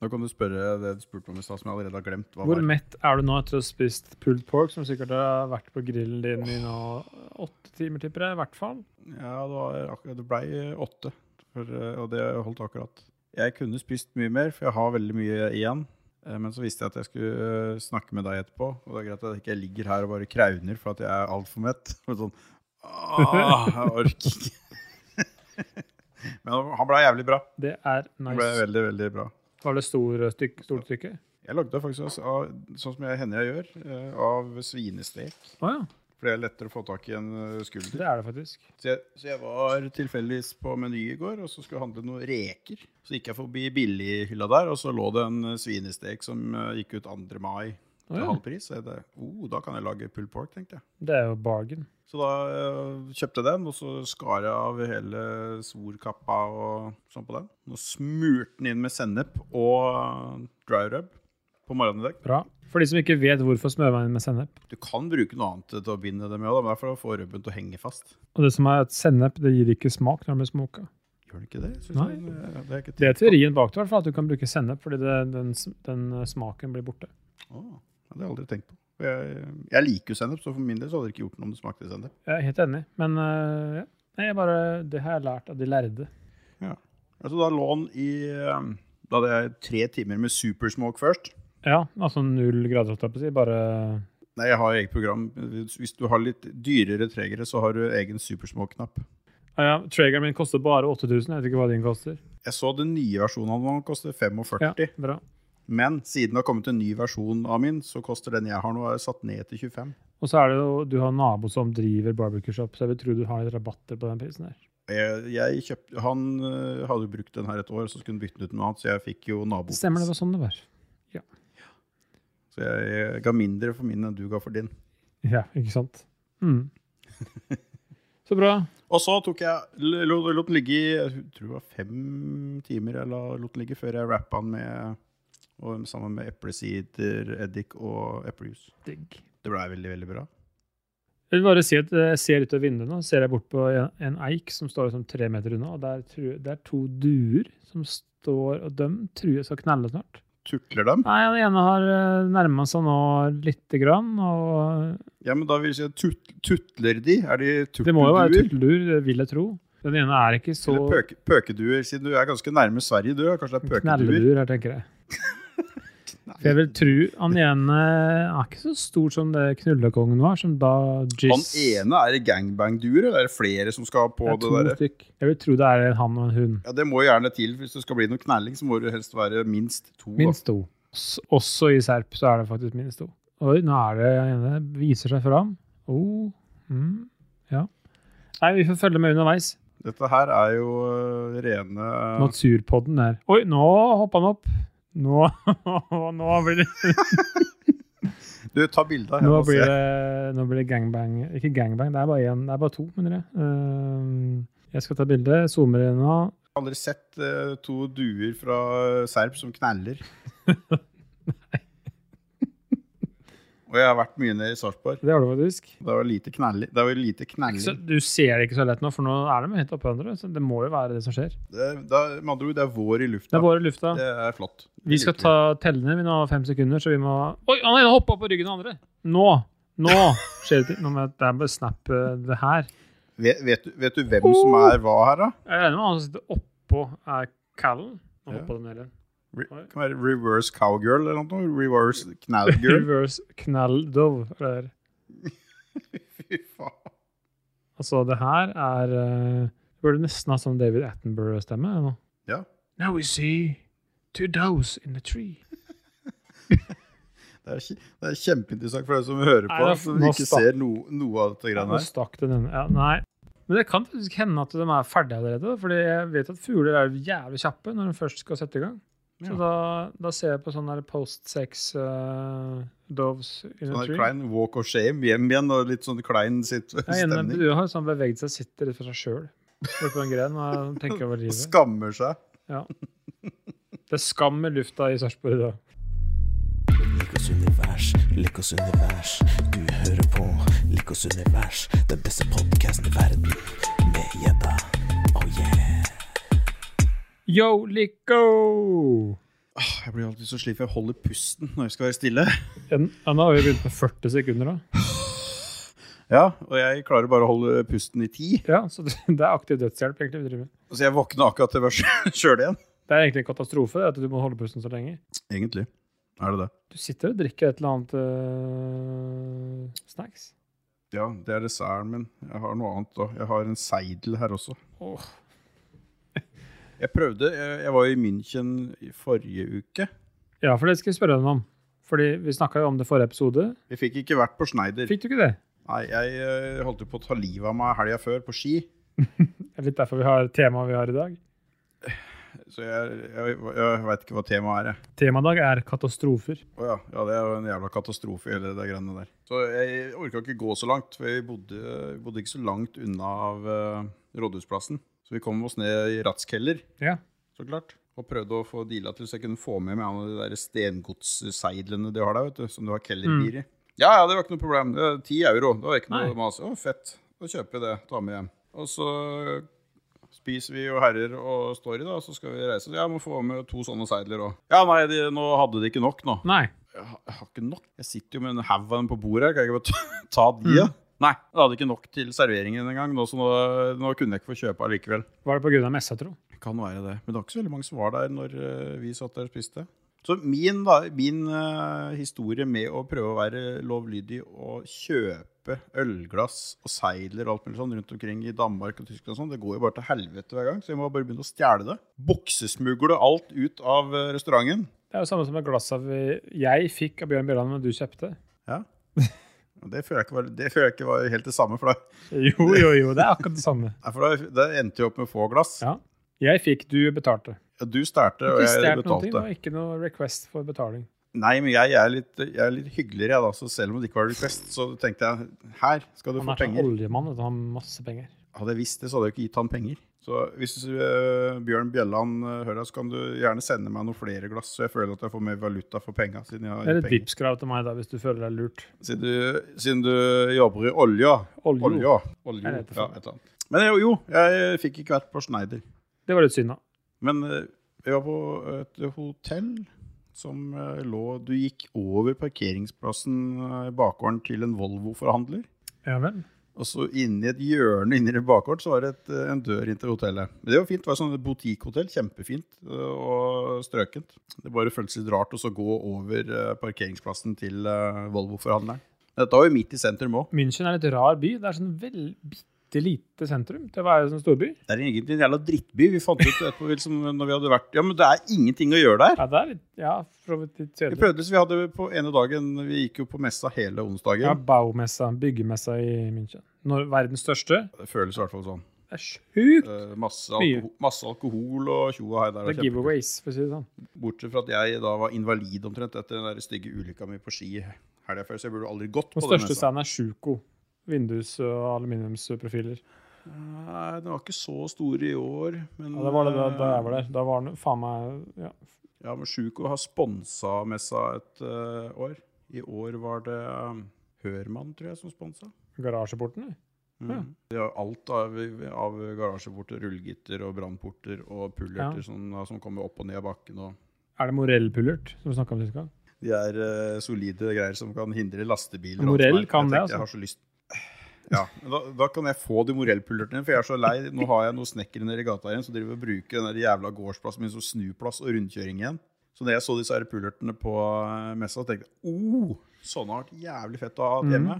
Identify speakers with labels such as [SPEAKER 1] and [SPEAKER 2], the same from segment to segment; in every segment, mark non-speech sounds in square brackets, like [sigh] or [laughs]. [SPEAKER 1] Nå kan du spørre det du spurte om i stad, som jeg allerede har glemt. Hva
[SPEAKER 2] Hvor
[SPEAKER 1] var.
[SPEAKER 2] mett er du nå etter å ha spist pulled pork, som sikkert har vært på grillen din i nå åtte timer, tipper jeg, i hvert fall?
[SPEAKER 1] Ja, det, var, ak- det ble åtte, for, eh, og det holdt akkurat. Jeg kunne spist mye mer, for jeg har veldig mye igjen. Eh, Men så visste jeg at jeg skulle eh, snakke med deg etterpå. Og det er greit at jeg ikke ligger her og bare krauner for at jeg er altfor mett. [laughs] Og sånn, Åh, jeg orker ikke. [laughs] Men han ble jævlig bra.
[SPEAKER 2] Det er
[SPEAKER 1] Han ble
[SPEAKER 2] nice.
[SPEAKER 1] veldig, veldig bra.
[SPEAKER 2] Var det stor eh, stykk, stort stykke?
[SPEAKER 1] Jeg lagde faktisk også av, sånn som jeg hender jeg gjør, eh, av svinestek.
[SPEAKER 2] Å ja,
[SPEAKER 1] For det er lettere å få tak i en eh, skulder.
[SPEAKER 2] det er det faktisk.
[SPEAKER 1] Så jeg, så jeg var tilfeldigvis på Meny i går, og så skulle jeg handle noen reker. Så gikk jeg forbi billighylla der, og så lå det en eh, svinestek som eh, gikk ut 2. mai
[SPEAKER 2] Å
[SPEAKER 1] til
[SPEAKER 2] ja.
[SPEAKER 1] halv pris. Så jeg tenkte, oh, da kan jeg lage pulled pork, tenkte jeg.
[SPEAKER 2] Det er jo bargain.
[SPEAKER 1] Så da eh, kjøpte jeg den, og så skar jeg av hele svorkappa og sånn på den. Og smurte den inn med sennep og eh, dry rub på morgenen i dag.
[SPEAKER 2] Bra. For de som ikke vet hvorfor smører man inn med sennep.
[SPEAKER 1] Du kan bruke noe annet til å binde det med, da, men det er for å få rubben til å henge fast.
[SPEAKER 2] Og det som er at sennep det gir ikke smak når det blir smoka.
[SPEAKER 1] Gjør den ikke det? Synes
[SPEAKER 2] Nei.
[SPEAKER 1] den, eh, det er ikke
[SPEAKER 2] Det er teorien bak det, i hvert fall, at du kan bruke sennep fordi det, den, s- den eh, smaken blir borte.
[SPEAKER 1] Å, ja, det har jeg aldri tenkt på. Og Jeg, jeg liker jo sennep, så for min del så hadde det ikke gjort noe om det smakte sennep.
[SPEAKER 2] Jeg er helt enig, men eh, ja. Nei, jeg bare, det har jeg lært av de lærde.
[SPEAKER 1] Altså, da lå den i eh, Da hadde jeg tre timer med supersmoke først.
[SPEAKER 2] Ja, altså null grader, holdt jeg på å si. Bare
[SPEAKER 1] Nei, jeg har eget program. Hvis hvis du har litt dyrere tregere, så har du egen supersmoke-knapp.
[SPEAKER 2] ja, ja, Trageren min koster bare 8000, jeg vet ikke hva din koster.
[SPEAKER 1] Jeg så den nye versjonen av den koster 45,
[SPEAKER 2] Ja, bra.
[SPEAKER 1] men siden det har kommet en ny versjon av min, så koster den jeg har nå, er satt ned til 25.
[SPEAKER 2] Og så er det jo, du har en nabo som driver barbecue shop, så jeg vil tro du har litt rabatter på den prisen her.
[SPEAKER 1] Jeg, jeg kjøpte, han øh, hadde jo brukt den her et år, så skulle han bytte den ut med noe annet, så jeg fikk jo nabo.
[SPEAKER 2] Stemmer, det var sånn det var.
[SPEAKER 1] Så jeg, jeg ga mindre for min enn du ga for din.
[SPEAKER 2] Ja, ikke sant? Mm. [laughs] Så bra.
[SPEAKER 1] Og så tok jeg, l- lot lot den ligge i jeg tror det var fem timer jeg la, lot den ligge før jeg rappa den med, og, sammen med eplesider, eddik og eplejus.
[SPEAKER 2] Digg.
[SPEAKER 1] Det ble veldig, veldig bra.
[SPEAKER 2] Jeg vil bare si at eh, jeg ser ut av vinduet nå, ser jeg bort på en en eik som står liksom tre meter unna, og der tru- det er to duer som står, og de tror jeg skal knelle snart.
[SPEAKER 1] Tutler dem?
[SPEAKER 2] Nei, den ene har eh, nærmet seg nå lite grann, og
[SPEAKER 1] Ja, men da vil jeg si tut, tutler de? Er de
[SPEAKER 2] det må jo være
[SPEAKER 1] turtelduer?
[SPEAKER 2] turtelduer, det vil jeg tro. Den ene er ikke så
[SPEAKER 1] Eller pøke, pøkeduer, siden du er ganske nærme Sverige, du. Kanskje det er pøkeduer?
[SPEAKER 2] knelleduer her,
[SPEAKER 1] [laughs]
[SPEAKER 2] tenker jeg. For jeg vil tro han ene er ikke så stor som det knullekongen var, som da Jizz
[SPEAKER 1] Han ene er det gangbang-duer, eller er det flere som skal på
[SPEAKER 2] Det er
[SPEAKER 1] det,
[SPEAKER 2] to
[SPEAKER 1] der?
[SPEAKER 2] stykk. Jeg vil tro det er en han og en hund.
[SPEAKER 1] Ja, Det må jo gjerne til. Hvis det skal bli noe knalling, så må det helst være minst to. da.
[SPEAKER 2] Minst to. S- Også i Serp så er det faktisk minst to. Oi, nå er det den ene viser seg fram. Oh, mm, ja. Nei, vi får følge med underveis.
[SPEAKER 1] Dette her er jo øh, rene
[SPEAKER 2] Naturpodden der. Oi, nå hoppa han opp. Nå, [laughs] nå, blir, det,
[SPEAKER 1] Du, ta bilde av henne
[SPEAKER 2] nå,
[SPEAKER 1] og
[SPEAKER 2] blir
[SPEAKER 1] se.
[SPEAKER 2] det, nå blir det gangbang. Ikke gangbang, det er bare, en, det er bare to, mener jeg. Ehm, jeg skal ta bilde. Zoomer inn nå.
[SPEAKER 1] Jeg har aldri sett øh, to duer fra øh, Serb som
[SPEAKER 2] [laughs]
[SPEAKER 1] kneller. og jeg har vært mye nede i Sarpsborg.
[SPEAKER 2] Det har du faktisk.
[SPEAKER 1] Det var lite knelling. Det var lite knelling.
[SPEAKER 2] Så, du ser det ikke så lett nå, for nå er de helt oppe hverandre. Så det må jo være det som skjer.
[SPEAKER 1] Det, det, er- med andre ord, det er vår i lufta.
[SPEAKER 2] Det er vår i lufta.
[SPEAKER 1] Det er flott.
[SPEAKER 2] Vi skal ta tellene. Vi nå har fem sekunder, så vi må Oi, han ene hoppa på ryggen av den andre! Nå! Nå
[SPEAKER 1] [laughs]
[SPEAKER 2] skjer det ting. Nå må jeg- Det er bare snap eh, det her.
[SPEAKER 1] Vet, vet, du- vet du hvem som er hva her, da?
[SPEAKER 2] Jeg regner med han som sitter oppå er Callen. Nå
[SPEAKER 1] Ja.
[SPEAKER 2] hoppa den ned igjen.
[SPEAKER 1] Re, kan være reverse cowgirl eller noe? Reverse
[SPEAKER 2] [laughs]
[SPEAKER 1] knallgirl?
[SPEAKER 2] Reverse knalldov. Eller
[SPEAKER 1] [laughs] Fy faen.
[SPEAKER 2] altså, det her er eh, Burde nesten ha sånn David Attenborough-stemme nå.
[SPEAKER 1] Ja.
[SPEAKER 2] Now we see two doves in the tree.
[SPEAKER 1] Det er, kje- det er kjempeinteressant for deg som hører på,
[SPEAKER 2] Nei, det er f-
[SPEAKER 1] som
[SPEAKER 2] nå
[SPEAKER 1] ikke
[SPEAKER 2] sta-
[SPEAKER 1] ser no, noe av dette
[SPEAKER 2] Nå
[SPEAKER 1] greiene her.
[SPEAKER 2] stakk den ene. Ja, nei. Men det kan faktisk hende at de er ferdige allerede. Fordi jeg vet at fugler er jævlig kjappe når de først skal sette i gang. Så
[SPEAKER 1] Ja.
[SPEAKER 2] da, da ser jeg på sånn der post sex eh, doves in a
[SPEAKER 1] Sånn der
[SPEAKER 2] tree.
[SPEAKER 1] klein walk of shame hjem igjen, og litt sånn klein sitt
[SPEAKER 2] Jeg er enig,
[SPEAKER 1] stemning.
[SPEAKER 2] du har sånn beveget seg, sitter litt for seg sjøl. Bortpå en gren og tenker
[SPEAKER 1] [laughs]
[SPEAKER 2] over
[SPEAKER 1] Og
[SPEAKER 2] livet.
[SPEAKER 1] skammer seg.
[SPEAKER 2] Det er skam i lufta i Sarpsborg i dag.
[SPEAKER 3] Likos univers, Likos univers. Du hører på Likos univers, den beste podkasten i verden. Med gjedda. Oh yeah.
[SPEAKER 2] Yo, Lico!
[SPEAKER 1] Ah, Jeg blir alltid så slitt for jeg holder pusten når jeg skal være stille.
[SPEAKER 2] En, Anna har jo begynt på 40 sekunder, da.
[SPEAKER 1] Ja, Og jeg klarer bare å holde pusten i ti.
[SPEAKER 2] Ja, Så det [laughs] det er aktiv dødshjelp egentlig vi driver med.
[SPEAKER 1] Så jeg våkner akkurat til [laughs] jeg sjøl igjen.
[SPEAKER 2] Det er egentlig en katastrofe det, at du må holde pusten så lenge.
[SPEAKER 1] Egentlig er det det.
[SPEAKER 2] Du sitter og drikker et eller annet øh, snacks.
[SPEAKER 1] Ja, det er desserten min. Jeg har noe annet òg. Jeg har en seidel her også.
[SPEAKER 2] Åh.
[SPEAKER 1] Jeg prøvde Jeg jeg var i München i forrige uke.
[SPEAKER 2] Ja, for det skal jeg spørre deg om. Fordi vi snakka jo om det i forrige episode.
[SPEAKER 1] Jeg fikk ikke vært på Schneider.
[SPEAKER 2] Fikk du ikke det?
[SPEAKER 1] Nei, jeg eh, holdt jo på å ta livet av meg helga før på ski.
[SPEAKER 2] Det er litt derfor vi har temaet vi har i dag.
[SPEAKER 1] Så jeg, jeg, jeg veit ikke hva temaet er. jeg.
[SPEAKER 2] Temadag er katastrofer.
[SPEAKER 1] Å ja. ja, det er jo en jævla katastrofe, hele det greiene der. Så jeg orka ikke gå så langt, for vi bodde, vi bodde ikke så langt unna av eh, Rådhusplassen. Så vi kom oss ned i Ratskeller,
[SPEAKER 2] Ja.
[SPEAKER 1] så klart. Og prøvde å få deala til så jeg kunne få med meg en av de der stengodsseidlene de har der, vet du, som du har kellerbier i. Ja, ja, det var ikke noe problem. Det var Ti euro. Det var ikke noe
[SPEAKER 2] Nei.
[SPEAKER 1] mas. Å, fett. Da kjøper vi det. Ta med hjem. Og så spiser vi jo herrer og står i, da, og så skal vi reise. Ja, må få med to sånne seidler òg. Ja, nei, de, nå hadde de ikke nok nå.
[SPEAKER 2] Nei.
[SPEAKER 1] Jeg har, jeg har ikke nok. Jeg sitter jo med en haug av dem på bordet her. Kan jeg ikke bare ta- ta de, da? Nei, jeg hadde ikke nok til serveringen engang, nå, så nå, nå kunne jeg ikke få kjøpe allikevel.
[SPEAKER 2] Var det på grunn av messa, tro?
[SPEAKER 1] Kan være det. Men det var ikke så veldig mange som var der når eh, vi satt der og spiste. Så min, da, min eh, historie med å prøve å være lovlydig og kjøpe ølglass og seidler og alt mulig sånn rundt omkring i Danmark og Tyskland og sånn, det går jo bare til helvete hver gang. Så jeg må bare begynne å stjele det. Buksesmugle alt ut av eh, restauranten.
[SPEAKER 2] Det er jo samme som med glassa vi- eh, jeg fikk av Bjørn Bjørland, men du kjøpte.
[SPEAKER 1] Ja. Og Det føler jeg ikke var, det føler jeg ikke var helt det samme, for da,
[SPEAKER 2] Jo, jo, jo. Det er akkurat det samme.
[SPEAKER 1] nei, for da, da endte jeg opp med få glass.
[SPEAKER 2] Ja. Jeg fikk, du betalte.
[SPEAKER 1] Ja, Du stjerte, og
[SPEAKER 2] Ikke
[SPEAKER 1] jeg
[SPEAKER 2] stjålet noen ting, det
[SPEAKER 1] betalte.
[SPEAKER 2] var ikke noe request for betaling.
[SPEAKER 1] Nei, men jeg, er litt, jeg er litt hyggeligere, jeg da. Så selv om det ikke var request, så tenkte jeg her skal du
[SPEAKER 2] Han
[SPEAKER 1] få
[SPEAKER 2] er sånn
[SPEAKER 1] penger.
[SPEAKER 2] oljemann, vet du, han har masse penger.
[SPEAKER 1] Hadde jeg visst det, så hadde jeg ikke gitt han penger. Så hvis øh, Bjørn Bjelland øh, hører deg, så kan du gjerne sende meg noen flere glass, så jeg føler at jeg får mer valuta for penga. Siden, jeg
[SPEAKER 2] Det er
[SPEAKER 1] har gitt
[SPEAKER 2] et
[SPEAKER 1] penger.
[SPEAKER 2] Vipps-krav til meg, da, hvis du føler deg lurt.
[SPEAKER 1] siden, du, siden du jobber i olja.
[SPEAKER 2] Oljo.
[SPEAKER 1] Olja.
[SPEAKER 2] Jeg
[SPEAKER 1] Oljo. Ja,
[SPEAKER 2] vet
[SPEAKER 1] et
[SPEAKER 2] det
[SPEAKER 1] eller
[SPEAKER 2] faen.
[SPEAKER 1] annet. Men jo, jo, jeg fikk ikke vært på Schneider.
[SPEAKER 2] Det var litt synd, da.
[SPEAKER 1] Men eh, vi var på et hotell som eh, lå Du gikk over parkeringsplassen eh, i bakgården til en Volvo-forhandler.
[SPEAKER 2] Ja vel.
[SPEAKER 1] Og så inni et hjørne inni det bakgården så var det et, eh, en dør inn til hotellet. Men det var fint. Det var sånn et boutiquehotell. Kjempefint eh, og strøkent. Det bare føltes litt rart også å gå over eh, parkeringsplassen til eh, Volvo-forhandleren. Dette var jo midt i sentrum òg.
[SPEAKER 2] München er en litt rar by. Det er sånn vel bitte lite sentrum til å være en sånn storby.
[SPEAKER 1] Det er egentlig en jævla drittby. Vi fant ut etterpå liksom, når vi hadde vært Ja, men det er ingenting å gjøre der.
[SPEAKER 2] Ja, det er litt, ja, for så vidt litt
[SPEAKER 1] Vi
[SPEAKER 2] kjedelig.
[SPEAKER 1] prøvde så vi hadde på ene dagen Vi gikk jo på messa hele onsdagen.
[SPEAKER 2] Ja, Baumessa, byggemessa i München. Når, verdens største.
[SPEAKER 1] Det føles i hvert fall sånn.
[SPEAKER 2] Det er sjukt!
[SPEAKER 1] Eh, masse,
[SPEAKER 2] Mye.
[SPEAKER 1] alkohol, masse alkohol og tjo og hei der.
[SPEAKER 2] Det
[SPEAKER 1] og
[SPEAKER 2] er
[SPEAKER 1] kjempe-
[SPEAKER 2] giveaways, for å si det sånn.
[SPEAKER 1] Bortsett fra at jeg da var invalid omtrent etter den der stygge ulykka mi på ski helga før, så jeg burde aldri gått på
[SPEAKER 2] Den
[SPEAKER 1] den
[SPEAKER 2] største
[SPEAKER 1] messa.
[SPEAKER 2] standen er Sjuko. Vindus- og aluminiumsprofiler.
[SPEAKER 1] Nei, den var ikke så stor i år, men
[SPEAKER 2] Ja, det var det da, da jeg var der. Da var den faen meg ja.
[SPEAKER 1] eh, Ja, men Sjuko har sponsa messa et eh, år. I år var det eh, Hørmann, tror jeg, som sponsa.
[SPEAKER 2] garasjeporten. eller? Ja.
[SPEAKER 1] De har alt av, av garasjeporter, rullegitter og brannporter og pullerter
[SPEAKER 2] Ja.
[SPEAKER 1] som, som kommer opp og ned av bakken. Og
[SPEAKER 2] Er det Morell-pullert som vi snakka om sist gang?
[SPEAKER 1] de er eh, solide greier som kan hindre lastebiler. og
[SPEAKER 2] Morell
[SPEAKER 1] alt som er.
[SPEAKER 2] kan det,
[SPEAKER 1] jeg tenkte,
[SPEAKER 2] altså.
[SPEAKER 1] Jeg har så lyst. Ja, men da, da kan jeg få de morellpullertene, for jeg er så lei. Nå har jeg noen snekkere nede i gata igjen som driver og bruker den der jævla gårdsplassen min som snuplass og rundkjøring igjen. Så da jeg så disse her pullertene på eh, messa, tenkte jeg oh, sånne har vært jævlig fett å ha
[SPEAKER 2] Mhm.
[SPEAKER 1] hjemme.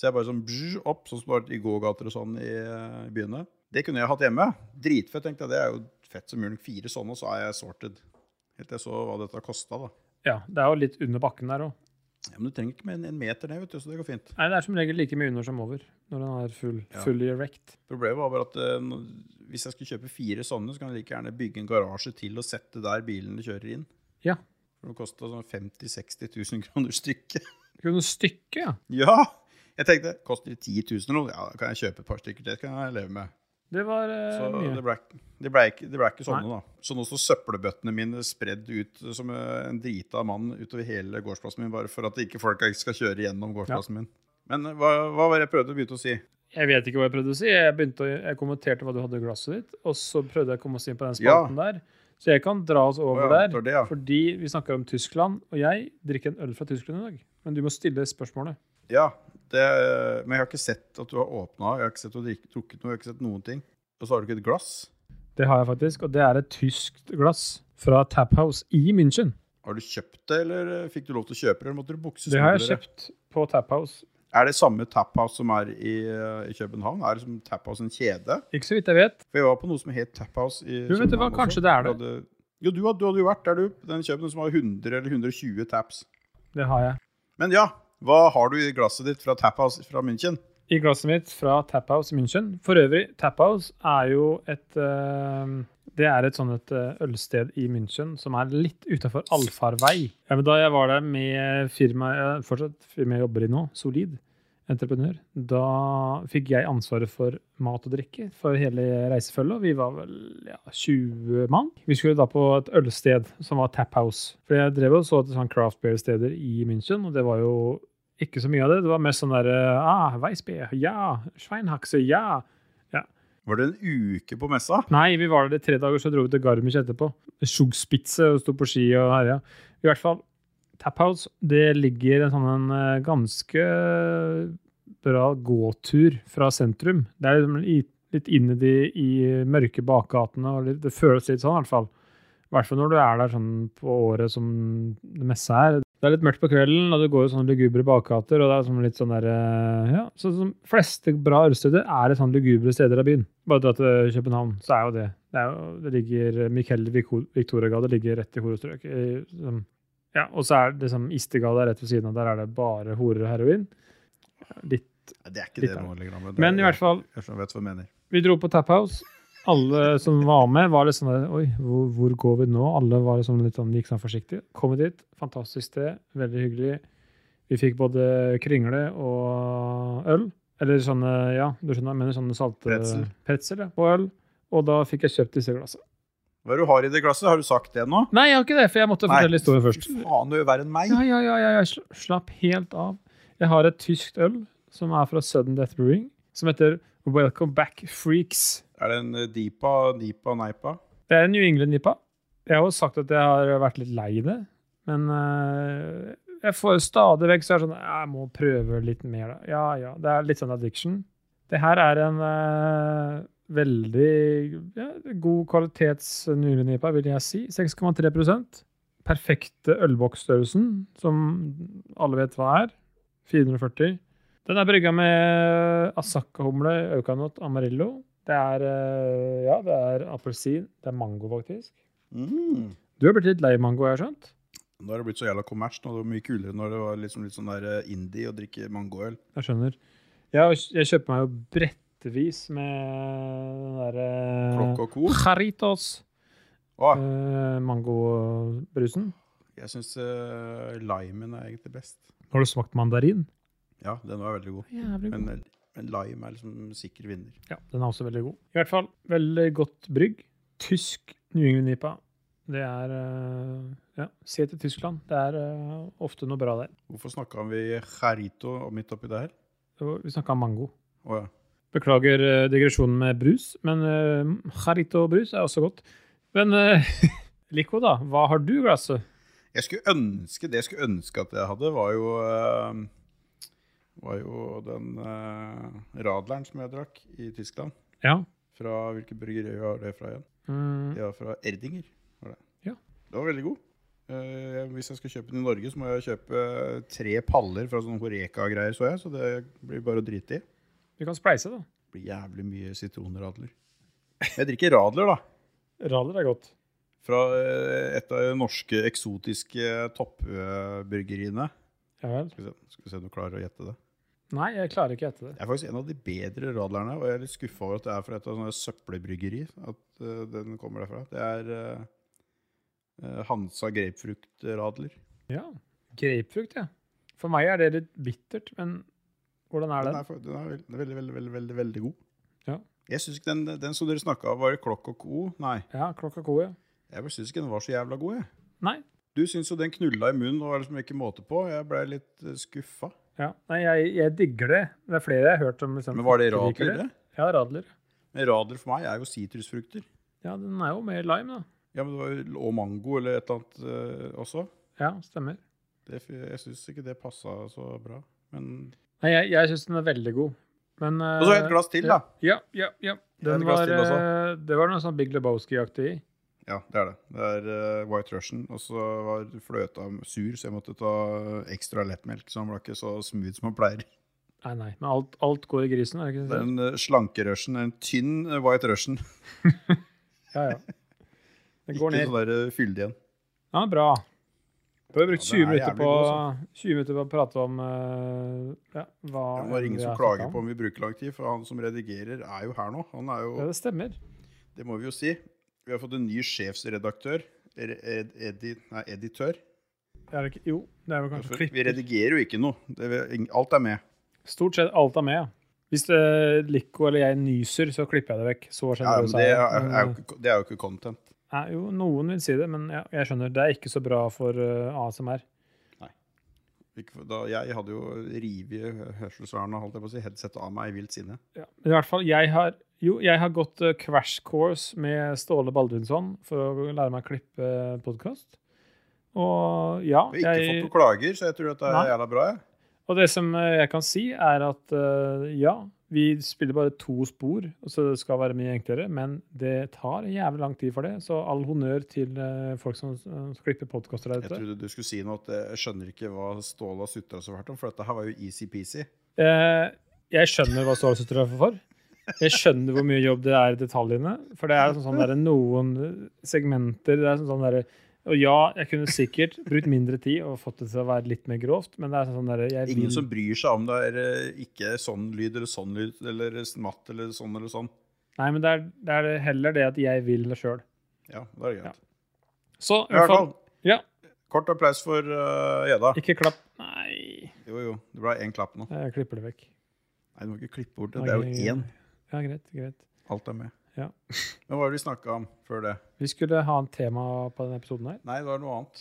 [SPEAKER 1] Så jeg bare sånn bzz, opp, sånn som det har vært i gågater og sånn i, eh, i byene. Det kunne jeg hatt hjemme. Dritfett, tenkte jeg. Det er jo fett som mulig. Fire sånne, og så er jeg sorted. Helt til jeg så hva dette kosta, da.
[SPEAKER 2] Ja, det er jo litt under bakken der òg.
[SPEAKER 1] Ja, men du trenger ikke mer enn en meter ned, vet du, så det går fint.
[SPEAKER 2] Nei, det er som regel like mye under som over når den er full,
[SPEAKER 1] Ja.
[SPEAKER 2] fully erect.
[SPEAKER 1] Problemet var bare at eh, nå- hvis jeg skulle kjøpe fire sånne, så kan jeg like gjerne bygge en garasje til og sette der bilene kjører inn.
[SPEAKER 2] Ja.
[SPEAKER 1] For det kosta sånn 50 000-60 000 kroner stykket. [laughs]
[SPEAKER 2] Kunne stykke, ja.
[SPEAKER 1] ja! Jeg tenkte koster det 10 000 eller noe, ja, da kan jeg kjøpe et par stykker til. Det kan jeg leve med.
[SPEAKER 2] Det var eh,
[SPEAKER 1] Så det
[SPEAKER 2] mye.
[SPEAKER 1] ble, ikke- det ble, ikke, det ble ikke sånne, da. Så nå står søppelbøttene mine spredd ut eh, som eh, en drita mann utover hele gårdsplassen min, bare for at ikke folk ikke skal kjøre gjennom gårdsplassen min. Men eh, hva, hva var det jeg prøvde å begynne å si?
[SPEAKER 2] Jeg vet ikke hva jeg prøvde å si. Jeg, begynte å, jeg kommenterte hva du hadde i glasset ditt, og så prøvde jeg å komme oss inn på den
[SPEAKER 1] Ja.
[SPEAKER 2] spalten der. Så jeg kan dra oss
[SPEAKER 1] Å
[SPEAKER 2] over
[SPEAKER 1] ja,
[SPEAKER 2] der.
[SPEAKER 1] det var det, ja.
[SPEAKER 2] Fordi vi snakka om Tyskland, og jeg drikker en øl fra Tyskland i dag. Men du må stille spørsmålet.
[SPEAKER 1] Ja, det, men jeg har ikke sett at du har åpna, jeg har ikke sett at du har drukket noe, jeg har ikke sett noen ting. Og så har du ikke et glass.
[SPEAKER 2] Det har jeg faktisk, og det er et tyskt glass fra Tap House i München.
[SPEAKER 1] Har du kjøpt det, eller eh, fikk du lov til å kjøpe det, eller måtte du bukse
[SPEAKER 2] Det har jeg
[SPEAKER 1] smugler
[SPEAKER 2] kjøpt på Tap House.
[SPEAKER 1] Er det samme taphouse som er i, eh, i København? Er det som taphouse en kjede?
[SPEAKER 2] Ikke så vidt jeg vet.
[SPEAKER 1] For jeg var på noe som het taphouse i
[SPEAKER 2] Jo, vet du hva,
[SPEAKER 1] København
[SPEAKER 2] kanskje
[SPEAKER 1] også.
[SPEAKER 2] det er det.
[SPEAKER 1] Du Hadde, jo, du hadde, du hadde jo vært der, du. på Den København som har 100 eller 120 taps.
[SPEAKER 2] Det har jeg.
[SPEAKER 1] Men ja, hva har du i glasset ditt fra taphouse fra München?
[SPEAKER 2] I glasset mitt fra Tap House i München. For øvrig, Tap House er jo et eh, Det er et sånn et eh, ølsted i München som er litt utafor allfarvei. Ja, men da jeg var der med firmaet jeg- fortsatt firmaet jeg jobber i nå, Solid entreprenør, da fikk jeg ansvaret for mat og drikke for hele reisefølget. og Vi var vel ja, 20 mann. Vi skulle da på et ølsted som var Tap House. For jeg drev og så etter sånn craft beer-steder i München, og det var jo ikke så mye av det. Det var mest sånn derre ah, Weissbier, ja. Schweinhaxe, ja.
[SPEAKER 1] Var det en uke på messa?
[SPEAKER 2] Nei, vi var der i tre dager, så dro vi til Garmisch etterpå. Sjugspitze og sto på ski og herja. I hvert fall, Tap House, det ligger en sånn en eh, ganske bra gåtur fra sentrum. Det er liksom i- litt inne de, i mørke bakgatene, og litt, det føles litt sånn i hvert fall. I hvert fall når du er der sånn på året som det meste er. Det er litt mørkt på kvelden, og det går jo sånne lugubre bakgater, og det er sånn litt sånn der eh, Ja, så som fleste bra ølsteder er det sånn lugubre steder av byen. Bare dra til København, så er jo det Det, er jo, det ligger Michael Victoria-gade ligger rett i horestrøk. eh, som- Ja, og så er det liksom Istegade rett ved siden av, der er det bare horer og heroin. Litt.
[SPEAKER 1] Nei, Det er ikke
[SPEAKER 2] Litt
[SPEAKER 1] det
[SPEAKER 2] av
[SPEAKER 1] nå lenger. da, det
[SPEAKER 2] Men
[SPEAKER 1] er-
[SPEAKER 2] i hvert fall,
[SPEAKER 1] Jeg skjønner- vet hva jeg mener.
[SPEAKER 2] vi dro på Tap House. Alle som var med, var litt sånn der, Oi, hvor, hvor går vi nå? Alle var liksom litt sånn, gikk sånn forsiktig. Kom vi dit. Fantastisk sted. Veldig hyggelig. Vi fikk både kringle og øl. Eller sånne, ja, du skjønner, jeg mener sånne salte
[SPEAKER 1] Pretzel.
[SPEAKER 2] pretzel, ja, og øl. Og da fikk jeg kjøpt disse glassene.
[SPEAKER 1] Hva er det du har i det glasset? Har du sagt det nå?
[SPEAKER 2] Nei, jeg har ikke det, for jeg måtte
[SPEAKER 1] Nei.
[SPEAKER 2] fortelle historien først.
[SPEAKER 1] Fy Faen, du er verre enn meg.
[SPEAKER 2] Ja, ja, ja, ja, jeg sl- slapp helt av. Jeg har et tyskt øl som er fra Sudden Death Brewing, som heter Welcome Back Freaks.
[SPEAKER 1] Er det en eh, Deepa, Deepa, Neipa?
[SPEAKER 2] Det er en New England-nippa. Jeg har jo sagt at jeg har vært litt lei det, men eh, jeg får stadig vekk så er det sånn Jeg må prøve litt mer, da. Ja, ja. Det er litt sånn addiction. Det her er en eh, veldig ja, god kvalitets New England-nippa, vil jeg si. 6,3 Perfekte ølboksstørrelsen, som alle vet hva er. 440. Den er brygga med asakahumle, aukanot, amarillo. Det er eh, ja, det er appelsin. Det er mango, faktisk.
[SPEAKER 1] Mm.
[SPEAKER 2] Du har blitt litt lei mango, jeg har skjønt?
[SPEAKER 1] Nå har det blitt så jævla kommers. Nå er det mye kulere når det var liksom litt sånn der eh, indie å drikke mangoøl.
[SPEAKER 2] Jeg skjønner. Jeg, jeg kjøper meg jo brettevis med den eh, derre
[SPEAKER 1] Klokk og ko.
[SPEAKER 2] Jaritos
[SPEAKER 1] Å,
[SPEAKER 2] eh, mangobrusen.
[SPEAKER 1] jeg syns eh, limen er egentlig best.
[SPEAKER 2] Har du smakt mandarin?
[SPEAKER 1] Ja, den var veldig god.
[SPEAKER 2] Jævlig
[SPEAKER 1] Men, eh, men lime er liksom sikker vinner.
[SPEAKER 2] Ja, den er også veldig god. I hvert fall, veldig godt brygg. Tysk New England-nipa. Det er eh, Ja, se til Tyskland. Det er eh, ofte noe bra der.
[SPEAKER 1] Hvorfor snakka vi Jarito midt oppi der?
[SPEAKER 2] Det var- Vi snakka om mango.
[SPEAKER 1] Å ja.
[SPEAKER 2] Beklager eh, digresjonen med brus, men uh, Jarito-brus er også godt. Men eh, [laughs] Lico, da, hva har du i glasset?
[SPEAKER 1] Jeg skulle ønske, Det jeg skulle ønske at jeg hadde, var jo eh, Var jo den eh, Radleren som jeg drakk i Tyskland.
[SPEAKER 2] Ja.
[SPEAKER 1] Fra hvilket bryggeri var det fra igjen?
[SPEAKER 2] Mm,
[SPEAKER 1] De var fra Erdinger. Var det.
[SPEAKER 2] Ja.
[SPEAKER 1] det var veldig god. Eh, hvis jeg skal kjøpe den i Norge, så må jeg kjøpe tre paller fra sånne Horeca-greier, så jeg. Så det blir bare å drite i. Det
[SPEAKER 2] vi kan spleise, da.
[SPEAKER 1] blir jævlig mye sitronradler. Jeg drikker radler, da.
[SPEAKER 2] Radler er godt.
[SPEAKER 1] Fra eh, et av de norske eksotiske toppbryggeriene.
[SPEAKER 2] Ja vel.
[SPEAKER 1] Skal vi se, skal vi se om du klarer å gjette det.
[SPEAKER 2] Nei, jeg klarer ikke etter det.
[SPEAKER 1] Det er faktisk en av de bedre radlerne, og jeg er litt skuffa over at det er fra et av sånne søppelbryggeri at eh, den kommer derfra. Det er eh, eh, Hansa grapefruktradler.
[SPEAKER 2] Ja. Grapefrukt, ja. For meg er det litt bittert, men hvordan er
[SPEAKER 1] Den
[SPEAKER 2] det?
[SPEAKER 1] er, for- den er veld- veldig, veldig, veldig, veldig, veldig god.
[SPEAKER 2] Ja.
[SPEAKER 1] Jeg synes ikke den, den som dere snakka om, var det Klokk og Co. Nei,
[SPEAKER 2] Ja, klokka ko, ja.
[SPEAKER 1] jeg syns ikke den var så jævla god, jeg.
[SPEAKER 2] Nei.
[SPEAKER 1] Du syns jo den knulla i munnen og var liksom ikke måte på. Jeg ble litt eh, skuffa.
[SPEAKER 2] Ja. Nei, jeg, jeg digger det. Det er flere jeg har hørt om. Liksom,
[SPEAKER 1] Men var det
[SPEAKER 2] ikke liker
[SPEAKER 1] radler, det?
[SPEAKER 2] Ja, radler.
[SPEAKER 1] Men radler for meg er jo sitrusfrukter.
[SPEAKER 2] Ja, den er jo mer lime, da.
[SPEAKER 1] Ja, men det var jo og mango eller et eller annet eh, også.
[SPEAKER 2] Ja, stemmer.
[SPEAKER 1] Det, jeg syns ikke det passa så bra. Men
[SPEAKER 2] Nei, jeg, jeg syns den er veldig god. Men eh,
[SPEAKER 1] Og så et glass til, da.
[SPEAKER 2] Ja, ja, ja.
[SPEAKER 1] Jeg
[SPEAKER 2] Den
[SPEAKER 1] hadde glass
[SPEAKER 2] var,
[SPEAKER 1] til
[SPEAKER 2] eh, det var noe sånn Big Lebowski-aktig i.
[SPEAKER 1] Ja, det er det. Det er eh, White Russian. Og så var fløta sur, så jeg måtte ta ekstra lettmelk. Så den ble ikke så smooth som den pleier.
[SPEAKER 2] Nei, nei. Men alt, alt går i grisen, er det
[SPEAKER 1] Det
[SPEAKER 2] ikke
[SPEAKER 1] er
[SPEAKER 2] det?
[SPEAKER 1] en eh, slanke Russian. En tynn eh, White Russian.
[SPEAKER 2] Ja, ja. [laughs] Det
[SPEAKER 1] Ikke
[SPEAKER 2] går ned.
[SPEAKER 1] sånn der eh, fyldig en.
[SPEAKER 2] Ja, bra. Da har vi brukt
[SPEAKER 1] Ja, den
[SPEAKER 2] 20
[SPEAKER 1] er
[SPEAKER 2] minutter,
[SPEAKER 1] jævlig
[SPEAKER 2] på,
[SPEAKER 1] god, altså.
[SPEAKER 2] 20 minutter på å prate om eh, ja, hva
[SPEAKER 1] Det var ingen
[SPEAKER 2] vi
[SPEAKER 1] som
[SPEAKER 2] har
[SPEAKER 1] klager
[SPEAKER 2] snakket
[SPEAKER 1] på
[SPEAKER 2] om.
[SPEAKER 1] om vi bruker lang tid, for han som redigerer, er jo her nå. Han er
[SPEAKER 2] Ja,
[SPEAKER 1] jo
[SPEAKER 2] det stemmer.
[SPEAKER 1] Det må vi jo si. Vi har fått en ny sjefsredaktør. Re- ed- edi, nei, editør.
[SPEAKER 2] Er det ikke? Jo, det er vel kanskje
[SPEAKER 1] For vi
[SPEAKER 2] klipp.
[SPEAKER 1] redigerer jo ikke noe. Det, vi- ing- alt er med.
[SPEAKER 2] Stort sett alt er med. ja. Hvis uh, Lico eller jeg nyser, så klipper jeg det vekk. Så
[SPEAKER 1] Ja, men
[SPEAKER 2] sjenerøs
[SPEAKER 1] det,
[SPEAKER 2] jeg.
[SPEAKER 1] er, er,
[SPEAKER 2] Men,
[SPEAKER 1] jo ikke, det er jo ikke content.
[SPEAKER 2] eh, nei, jo, noen vil si det, men ja, jeg skjønner. Det er ikke så bra for eh, ASMR.
[SPEAKER 1] Ikke for- Da, jeg hadde jo rivet hørselsvernet holdt jeg på å si, headsetet av meg i vilt sinne.
[SPEAKER 2] Ja. Men i hvert fall, jeg har, jo, jeg har gått eh, crash course med Ståle Baldvinsson for å lære meg å klippe podkast. Og ja,
[SPEAKER 1] Vi har ikke fått
[SPEAKER 2] jeg,
[SPEAKER 1] noen klager, så jeg tror at det er
[SPEAKER 2] Nei.
[SPEAKER 1] jævla bra. jeg.
[SPEAKER 2] og det som eh, jeg kan si, er at eh, ja, vi spiller bare to spor, så det skal være mye enklere, men det tar jævlig lang tid for det. Så all honnør til eh, folk som, som klipper podkaster der
[SPEAKER 1] Jeg
[SPEAKER 2] ute.
[SPEAKER 1] trodde du skulle si noe at eh, jeg skjønner ikke hva Ståle har sutra så fælt om, for dette her var jo easy-peasy.
[SPEAKER 2] Eh, jeg skjønner hva stålsutter er for. Jeg skjønner hvor mye jobb det er i detaljene. For det er sånn, sånn der, noen segmenter det er sånn, sånn der, Og ja, jeg kunne sikkert brukt mindre tid og fått det til å være litt mer grovt, men det er sånn, sånn der, jeg
[SPEAKER 1] Ingen
[SPEAKER 2] vil,
[SPEAKER 1] som bryr seg om det er eh, ikke sånn lyd eller sånn lyd eller smatt eller sånn eller sånn.
[SPEAKER 2] Nei, men det er, det er heller det at jeg vil det sjøl.
[SPEAKER 1] Ja, da er det greit.
[SPEAKER 2] Så
[SPEAKER 1] I hvert fall,
[SPEAKER 2] Ja,
[SPEAKER 1] kort applaus for eh, Gjedda.
[SPEAKER 2] ikke klapp. Nei,
[SPEAKER 1] Jo, jo. Det ble én klapp nå.
[SPEAKER 2] jeg klipper det vekk.
[SPEAKER 1] Nei, du må ikke klippe bort det. Det er jo én.
[SPEAKER 2] Ja, greit, greit.
[SPEAKER 1] Alt er med.
[SPEAKER 2] Ja.
[SPEAKER 1] Men hva var det vi snakka om før det?
[SPEAKER 2] Vi skulle ha en tema på denne episoden her.
[SPEAKER 1] Nei, det var noe annet.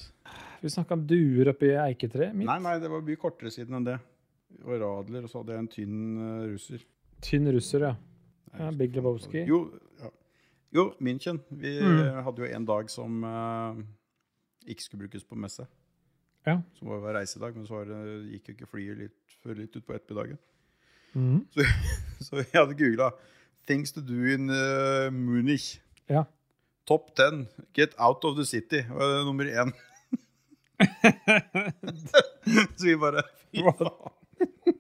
[SPEAKER 2] Vi snakka om duer oppi eiketreet. Mitt
[SPEAKER 1] Nei, nei, det var mye kortere siden enn det. Og Radler, og så hadde jeg en tynn eh, russer.
[SPEAKER 2] tynn russer, ja.
[SPEAKER 1] Nei,
[SPEAKER 2] ja
[SPEAKER 1] jeg
[SPEAKER 2] Big
[SPEAKER 1] husker ikke hva det
[SPEAKER 2] Lebowski.
[SPEAKER 1] var. Jo, ja. jo München. Vi
[SPEAKER 2] Mm.
[SPEAKER 1] eh, hadde jo en dag som eh, ikke skulle brukes på messe.
[SPEAKER 2] Ja.
[SPEAKER 1] Som var reisedag, men så var det, gikk jo ikke flyet litt, før litt utpå ettermiddagen. [laughs]
[SPEAKER 2] Mhm.
[SPEAKER 1] Så jeg hadde googla 'Things to do in eh, Munich'.
[SPEAKER 2] Ja.
[SPEAKER 1] Top 10. Get out of the city. Det var nummer
[SPEAKER 2] [laughs]
[SPEAKER 1] én. [laughs] så vi bare fy faen.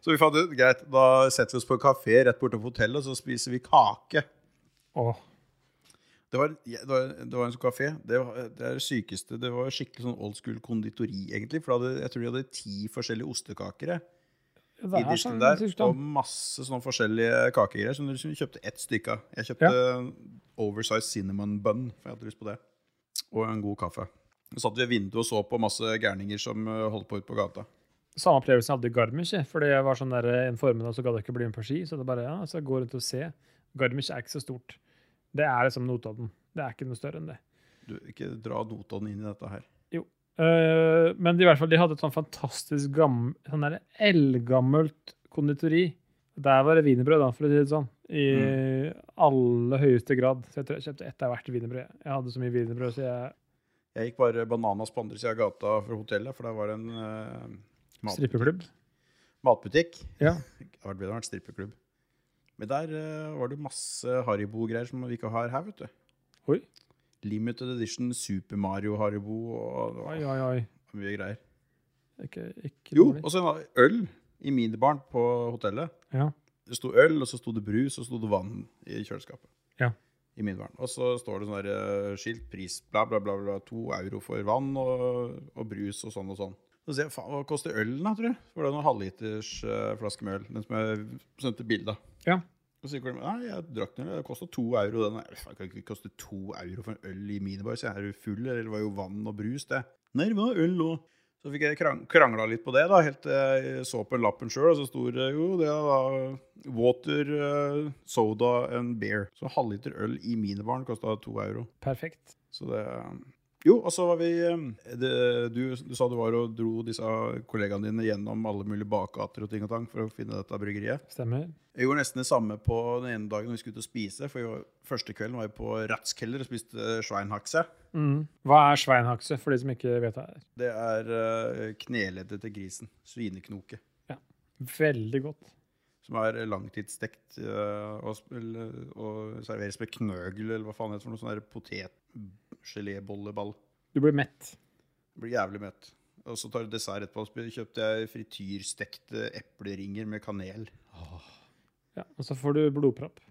[SPEAKER 1] Så vi fant ut greit, da setter vi oss på en kafé rett borte på hotellet, og så spiser vi kake.
[SPEAKER 2] Åh.
[SPEAKER 1] Det var, ja, det var, det var en sånn kafé. Det, var, det er det sykeste. Det var skikkelig sånn old school konditori, egentlig. For da hadde, jeg tror de hadde ti forskjellige ostekaker. jeg.
[SPEAKER 2] Ja,
[SPEAKER 1] i
[SPEAKER 2] det er
[SPEAKER 1] disken
[SPEAKER 2] sånn
[SPEAKER 1] der, og
[SPEAKER 2] sykdom.
[SPEAKER 1] masse sånne forskjellige kakegreier som du liksom kjøpte ett stykke av. Jeg kjøpte oversized cinnamon bun, for jeg hadde lyst på det. Og en god kaffe. Så satt vi ved vinduet og så på masse gærninger som eh, holdt på ute på gata.
[SPEAKER 2] Samme opplevelsen jeg hadde i Garmisch. jeg, Fordi jeg var sånn der eh, en formiddag, så gadd jeg ikke bli med på ski. Så det bare, ja, så jeg går rundt og ser. Garmisch er ikke så stort. Det er liksom Notodden. Det er ikke noe større enn det.
[SPEAKER 1] Du, ikke dra Notodden inn i dette her.
[SPEAKER 2] Eh, men i hvert fall, de hadde et sånn fantastisk gam, sånn der eldgammelt konditori. Der var det wienerbrød, da, for å si det sånn. I
[SPEAKER 1] Mm.
[SPEAKER 2] aller høyeste grad. Så jeg tror jeg kjøpte ett av hvert wienerbrød. Jeg hadde så mye wienerbrød, så jeg
[SPEAKER 1] Jeg gikk bare bananas på andre sida av gata fra hotellet, for der var det en eh, mat,
[SPEAKER 2] Strippeklubb.
[SPEAKER 1] matbutikk.
[SPEAKER 2] Ja.
[SPEAKER 1] [laughs] Det hadde vært bedre å ha vært strippeklubb. Men der eh, var det masse Haribo-greier som vi ikke har her, vet du.
[SPEAKER 2] Oi.
[SPEAKER 1] Limited edition Super Mario Haribo og
[SPEAKER 2] Oi, oi, oi.
[SPEAKER 1] mye greier.
[SPEAKER 2] Ikke, ikke
[SPEAKER 1] Jo,
[SPEAKER 2] dårlig.
[SPEAKER 1] og så var det øl i minibaren på hotellet.
[SPEAKER 2] Ja.
[SPEAKER 1] Det sto øl, og så sto det brus, og så sto det vann i kjøleskapet.
[SPEAKER 2] Ja.
[SPEAKER 1] I minibaren. Og så står det sånn der eh, skilt, pris, bla, bla, bla, bla, to euro for vann og, og brus og sånn og sånn. Så sier jeg, faen, hva koster ølen da, tror jeg? For det var noen halvliters eh, flaske med øl, den som jeg sendte bilde av.
[SPEAKER 2] Ja.
[SPEAKER 1] Og så sier Colin, nei, jeg drakk den, det kostet to euro den. Jeg, faen, kan ikke koste to euro for en øl i minibar, så jeg er jo full, eller det var jo vann og brus det. Nei, det var øl også. Så fikk jeg krang krangla litt på det, da, helt til jeg så på lappen sjøl, og så sto det jo det er da Water, eh, soda and beer. Så halvliter øl i minibaren kosta to euro.
[SPEAKER 2] Perfekt.
[SPEAKER 1] Så det Jo, og så var vi eh, det, du, du sa du var og dro disse kollegaene dine gjennom alle mulige bakgater og ting og tang for å finne dette bryggeriet.
[SPEAKER 2] Stemmer.
[SPEAKER 1] Jeg gjorde nesten det samme på den ene dagen vi skulle ut og spise. For vi var, første kvelden var jeg på Ratzkeller og spiste eh, Schweinhaxe.
[SPEAKER 2] Mm. Hva er sveinhakse, for de som ikke vet hva det er?
[SPEAKER 1] Det er eh, kneleddet til grisen. Svineknoke.
[SPEAKER 2] Veldig godt.
[SPEAKER 1] Som er langtidsstekt eh, og, sp- eller- og serveres med knøgel, eller hva faen det heter for noe sånn der potetgelébolleball.
[SPEAKER 2] Du blir mett.
[SPEAKER 1] Blir jævlig mett. Og så tar du dessert etterpå. Så kjøpte jeg frityrstekte epleringer med kanel.
[SPEAKER 2] Ja, og så får du blodpropp.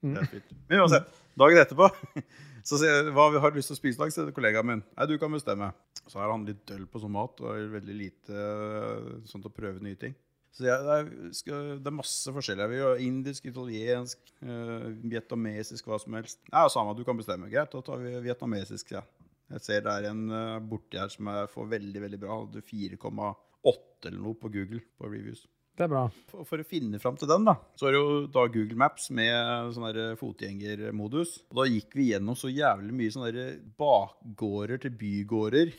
[SPEAKER 1] Det er fint. Men uansett, dagen etterpå [laughs] så sier jeg hva vi har lyst til å spise i dag, sier kollegaen min. Nei, du kan bestemme. Så er han litt døll på sånn mat og er veldig lite eh, sånn til å prøve nye ting. Så jeg, det, er, skal, det er masse forskjellig. Vi har indisk, italiensk, eh, vietnamesisk, hva som helst. Nei, samme, du kan bestemme. Greit, da tar vi vietnamesisk, ja. Jeg ser det er en eh, borti her som jeg får veldig, veldig bra. Han hadde 4,8 eller noe på Google på reviews.
[SPEAKER 2] Det er bra.
[SPEAKER 1] For, for å finne fram til den, da, så er det jo da Google Maps med sånn der fotgjengermodus. Og da gikk vi gjennom så jævlig mye sånne der eh, bakgårder til bygårder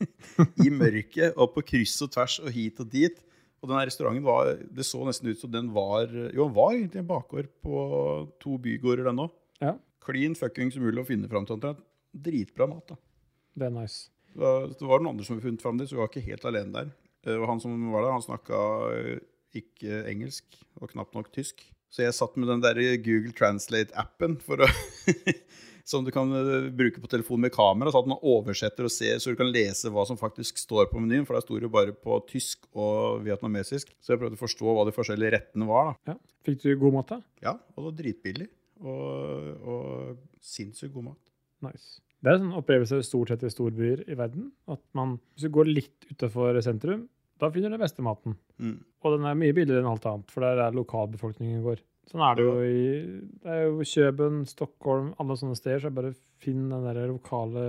[SPEAKER 1] [laughs] i mørket, og på kryss og tvers og hit og dit. Og den her restauranten var, det så nesten ut som den var Jo, den var egentlig en bakgård på to bygårder, den òg.
[SPEAKER 2] Ja.
[SPEAKER 1] Klin fuckings umulig å finne fram til omtrent. Dritbra mat, da.
[SPEAKER 2] Det er nice.
[SPEAKER 1] Da, det var noen andre som hadde funnet fram dit, så vi var ikke helt alene der. Eh, Og han som var der, han snakka eh, ikke engelsk, og knapt nok tysk. Så jeg satt med den der Google Translate-appen for å [laughs] Som du kan eh, bruke på telefonen med kamera, så at man oversetter og ser, så du kan lese hva som faktisk står på menyen. For der sto det jo bare på tysk og vietnamesisk. Så jeg prøvde å forstå hva de forskjellige rettene var. da.
[SPEAKER 2] Ja. Fikk du god mat, da?
[SPEAKER 1] Ja, Og det var dritbillig. Og, og sinnssykt god mat.
[SPEAKER 2] Nice. Det er en sånn opplevelse stort sett i storbyer i verden. At man, hvis du går litt utenfor sentrum, da finner du den beste maten.
[SPEAKER 1] Mm.
[SPEAKER 2] Og den er mye billigere enn alt annet, for det er der lokalbefolkningen går. Sånn er det jo i det er jo Kjøben, Stockholm, alle sånne steder. Så er det bare finn den der lokale